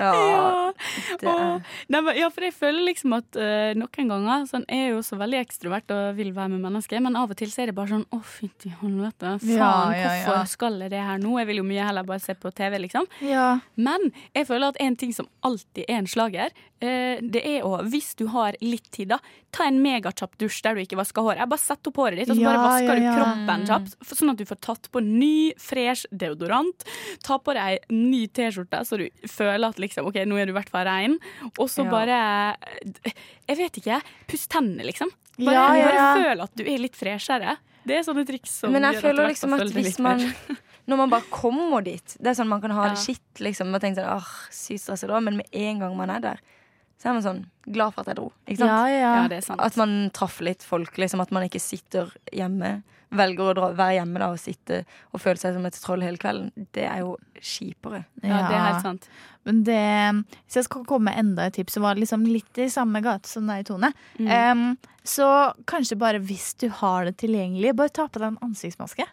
Speaker 5: Ja,
Speaker 3: Ja.
Speaker 5: det er
Speaker 3: Åh, Nei, men, ja, for jeg føler liksom at eh, noen ganger sånn, Jeg er jo så veldig ekstrovert og vil være med mennesker, men av og til så er det bare sånn Å, fytti helvete. Faen,
Speaker 4: Ja, ja, ja.
Speaker 3: hvorfor skal jeg det her nå? Jeg vil jo mye heller bare se på TV, liksom.
Speaker 4: Ja.
Speaker 3: Men jeg føler at en ting som alltid er en slager, eh, det er å Hvis du har litt tid, da, ta en megakjapp dusj der du ikke vasker håret. Jeg bare Sett opp håret ditt, og så bare
Speaker 4: Ja,
Speaker 3: vasker
Speaker 4: ja,
Speaker 3: du
Speaker 4: ja.
Speaker 3: kroppen kjapt. f- Sånn at du får tatt på ny, fresh deodorant. Ta på deg ny T-skjorte, så du føler at liksom OK, nå er du i hvert fall rein. Og så
Speaker 5: Ja.
Speaker 3: bare eh, Jeg vet ikke. Puss tennene, liksom. Bare,
Speaker 4: Ja, ja, ja.
Speaker 3: bare føl at du er litt freshere. Det er sånne triks som
Speaker 5: Men jeg
Speaker 3: gjør
Speaker 5: føler
Speaker 3: du i hvert
Speaker 5: liksom
Speaker 3: fall
Speaker 5: at
Speaker 3: føler deg
Speaker 5: hvis
Speaker 3: litt
Speaker 5: man
Speaker 3: mer.
Speaker 5: Når man bare kommer dit Det er sånn man kan ha
Speaker 3: Ja.
Speaker 5: det skitt liksom Og tenke sånn, ah, sykt stresset da Men med en gang man er der Så er man sånn, glad for at jeg dro Ikke sant?
Speaker 3: Ja, det er sant.
Speaker 5: At man traff litt folk liksom At man ikke sitter hjemme Velger å dra, være hjemme da og sitte Og føle seg som et troll hele kvelden Det er jo kjipere
Speaker 3: ja, det er helt sant.
Speaker 4: Men det, hvis jeg skal komme med enda et tips, som var liksom litt i samme gate som deg, Tone.
Speaker 3: Mm.
Speaker 4: em, så kanskje bare hvis du har det tilgjengelig, bare ta på deg en ansiktsmaske.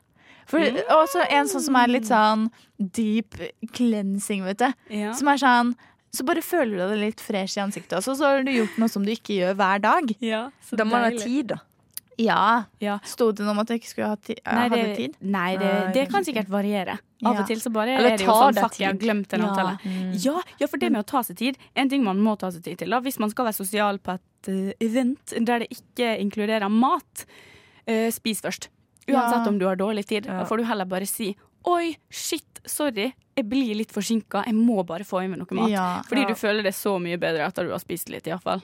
Speaker 4: For også en sånn som er litt sånn deep cleansing, vet du.
Speaker 3: Ja.
Speaker 4: Som er sånn Så bare føler du deg litt fresh i ansiktet også, så har du gjort noe som du ikke gjør hver dag.
Speaker 3: Ja, så
Speaker 5: Da må man ha
Speaker 3: deilig.
Speaker 5: tid da
Speaker 4: Ja.
Speaker 3: Ja.
Speaker 4: Sto det noe om at jeg ikke skulle ha ti
Speaker 3: Nei, det,
Speaker 4: hadde tid?
Speaker 3: nei det,
Speaker 4: Nei,
Speaker 3: det kan
Speaker 4: kanskje
Speaker 3: sikkert variere.
Speaker 4: Ja.
Speaker 3: Av og til så bare
Speaker 5: Eller
Speaker 3: er det jo
Speaker 5: tar
Speaker 3: sånn
Speaker 5: det
Speaker 3: fuck, jeg har
Speaker 5: tid.
Speaker 3: glemt en
Speaker 4: Ja.
Speaker 3: avtale. Ja. ja, for det med å ta seg tid, en ting man må ta seg tid til da, hvis man skal være sosial på et eh, event der det ikke inkluderer mat, eh, spis først. Uansett
Speaker 4: Ja.
Speaker 3: om du har dårlig tid. Da får du heller bare si oi, shit, sorry, jeg blir litt forsinka, jeg må bare få i meg noe mat.
Speaker 4: Ja.
Speaker 3: Fordi du føler det så mye bedre etter du har spist litt, iallfall.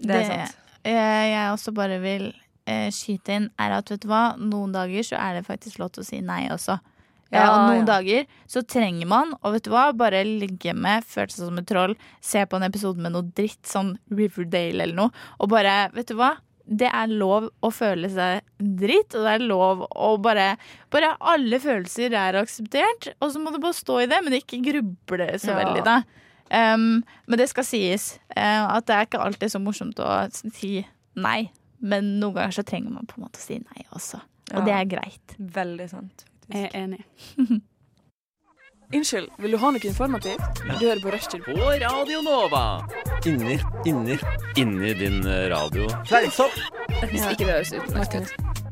Speaker 5: Det er sant
Speaker 4: eh, jeg også bare vil eh, skyte inn, er at vet du hva, noen dager så er det faktisk lov til å si nei også. Ja,
Speaker 5: Ja,
Speaker 4: og noen
Speaker 5: ja.
Speaker 4: dager så trenger man og vet du hva, bare ligge med, føle seg som et troll, se på en episode med noe dritt, sånn Riverdale eller noe, og bare, vet du hva, det er lov å føle seg dritt, og det er lov å bare Bare alle følelser er akseptert, og så må du bare stå i det, men ikke gruble så
Speaker 5: Ja.
Speaker 4: veldig, da. Um, men det skal sies eh, at det er ikke alltid så morsomt å si nei. Men noen ganger så trenger man på en måte å si nei også. Og
Speaker 5: Ja.
Speaker 4: det er greit.
Speaker 5: Veldig sant.
Speaker 3: Jeg er enig.
Speaker 11: Unnskyld, vil du ha noe informativt? Du hører på Rushtid.
Speaker 10: På Radio Nova.
Speaker 6: Inni, inni, inni din eh, radio.
Speaker 10: Fleinsopp.
Speaker 11: Hvis ikke det høres utenlandsk ut.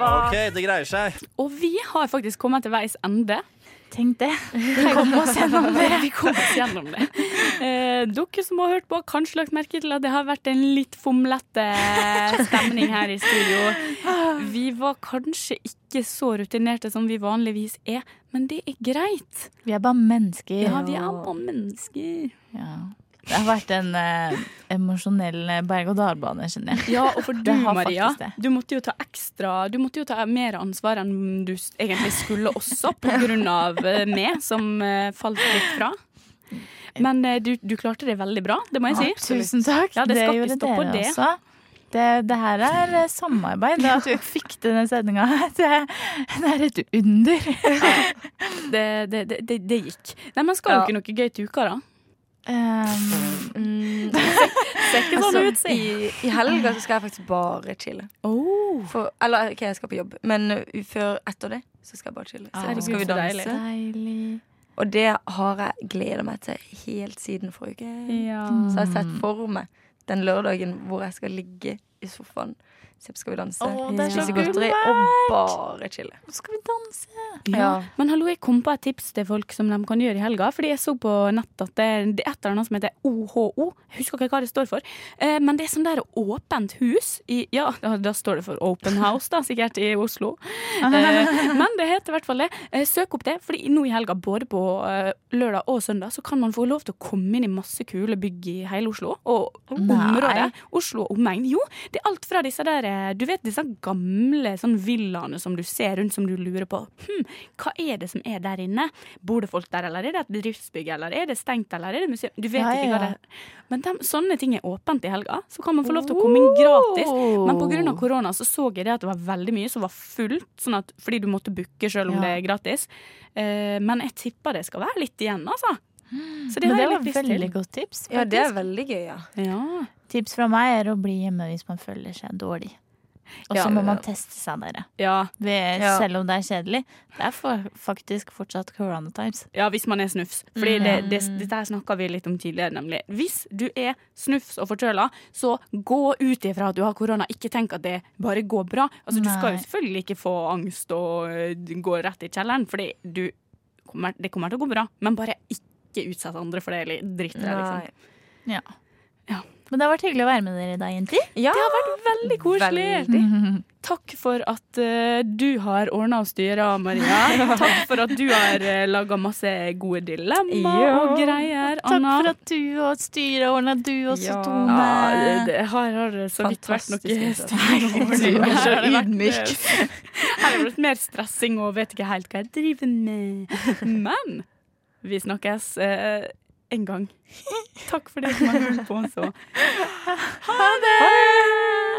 Speaker 10: OK, det greier seg.
Speaker 3: Og vi har faktisk kommet til veis ende.
Speaker 4: Tenk det. Vi kom oss gjennom det.
Speaker 3: Vi kom oss gjennom det. Eh, dere som har hørt på, har kanskje lagt merke til at det har vært en litt fomlete stemning her i studio. Vi var kanskje ikke så rutinerte som vi vanligvis er, men det er greit.
Speaker 4: Vi er bare mennesker.
Speaker 3: Ja, vi er
Speaker 4: og-
Speaker 3: bare mennesker.
Speaker 4: ja. Det har vært en eh, emosjonell eh, berg-og-dal-bane, skjønner jeg.
Speaker 3: Ja, og for du,
Speaker 4: Det har faktisk
Speaker 3: Maria,
Speaker 4: det.
Speaker 3: du måtte jo ta ekstra Du måtte jo ta mer ansvar enn du s- egentlig skulle også, på grunn av eh, meg, som eh, falt litt fra. Men eh, du, du klarte det veldig bra, det må jeg si.
Speaker 4: Tusen takk.
Speaker 3: Ja, det skal ikke
Speaker 4: gjorde
Speaker 3: stå på
Speaker 4: dere
Speaker 3: det.
Speaker 4: også. Det, det her er eh, samarbeid. Det at vi fikk denne sendinga her, det, det er et under.
Speaker 3: Det, det, det, det, det gikk. Nei, men skal dere noe gøy til uka, da?
Speaker 4: Um,
Speaker 5: Mm,
Speaker 3: Ser ikke sånn ut, si.
Speaker 5: Altså, i, I helga så skal jeg faktisk bare chille.
Speaker 3: Oh.
Speaker 5: For, eller OK, jeg skal på jobb, men uh, før etter det så skal jeg bare chille. Så
Speaker 3: Ah, Herregud,
Speaker 5: skal vi
Speaker 3: så
Speaker 5: danse.
Speaker 3: deilig.
Speaker 4: deilig.
Speaker 5: Og det har jeg gleda meg til helt siden forrige uke.
Speaker 3: Ja.
Speaker 5: Så jeg har
Speaker 3: Mm.
Speaker 5: sett for meg den lørdagen hvor jeg skal ligge i sofaen, se på Skal vi danse,
Speaker 4: Å,
Speaker 3: det er så
Speaker 5: spise godteri og bare chille.
Speaker 4: Nå skal vi danse.
Speaker 5: Ja.
Speaker 3: Men hallo, jeg kom på et tips til folk som de kan gjøre i helga. Fordi jeg så på nett at det det er et eller annet som heter OHO. Jeg husker ikke hva det står for. Eh, men det er sånn der åpent hus i Ja, da, da står det for Open House, da, sikkert i Oslo. Eh, men det heter i hvert fall det. Eh, søk opp det, fordi nå i helga, både på eh, lørdag og søndag, så kan man få lov til å komme inn i masse kule bygg i hele Oslo. Og området. Oslo og omegn. Jo, det er alt fra disse der eh, Du vet disse gamle sånn villaene som du ser rundt som du lurer på. Hm, hva er det som er der inne? Bor det folk der, eller er det et bedriftsbygg, eller er det stengt, eller er det museum? Du vet
Speaker 4: Ja, ja,
Speaker 3: ikke hva
Speaker 4: ja.
Speaker 3: det er. Men dem- sånne ting er åpent i helga, så kan man få lov til å komme inn gratis. Men pga. korona så, så jeg det at det var veldig mye som var fullt, sånn at, fordi du måtte booke selv om
Speaker 4: Ja.
Speaker 3: det er gratis. Eh, men jeg tipper det skal være litt igjen, altså. Så det
Speaker 4: Mm. Men
Speaker 3: har
Speaker 4: det
Speaker 3: jeg
Speaker 4: var
Speaker 3: litt lyst til.
Speaker 4: veldig godt tips.
Speaker 5: ja, det er
Speaker 4: faktisk.
Speaker 5: veldig gøy, ja.
Speaker 3: Ja.
Speaker 4: Tips fra meg er å bli hjemme hvis man føler seg dårlig. Og så
Speaker 3: Ja.
Speaker 4: må man teste seg, dere.
Speaker 3: Ja.
Speaker 4: Ved,
Speaker 5: Ja.
Speaker 4: Selv om det er kjedelig. Det er for, faktisk fortsatt corona times.
Speaker 3: Ja, hvis man er snufs. Fordi det, det,
Speaker 4: Mm.
Speaker 3: dette her snakka vi litt om tidligere, nemlig. Hvis du er snufs og forkjøla, så gå ut ifra at du har korona. Ikke tenk at det bare går bra. Altså, du skal jo
Speaker 4: Nei.
Speaker 3: selvfølgelig ikke få angst og øh, gå rett i kjelleren, fordi du kommer, det kommer til å gå bra. Men bare ikke utsett andre for det, eller dritt i det, liksom.
Speaker 5: Nei.
Speaker 4: Men det har vært hyggelig å være med dere i dag, jenter.
Speaker 5: Ja,
Speaker 3: Det har vært veldig koselig. Takk for at eh, du har ordna og styra, Maria. Takk for at du har uh, laga masse gode dilemmaer
Speaker 5: Ja.
Speaker 3: og greier.
Speaker 4: Takk
Speaker 3: Anna.
Speaker 4: for at du og styret ordna du også,
Speaker 5: Ja.
Speaker 4: Tone.
Speaker 3: Ja, det, det, her har det så vidt vært noe
Speaker 5: Fantastisk innsats.
Speaker 3: styr.
Speaker 5: Du er så
Speaker 3: Her har det vært-
Speaker 5: ydmyk.
Speaker 3: Her har det blitt mer stressing og vet ikke helt hva jeg driver med. Men vi snakkes eh, en gang. Takk for det som har hørt på så. Ha det!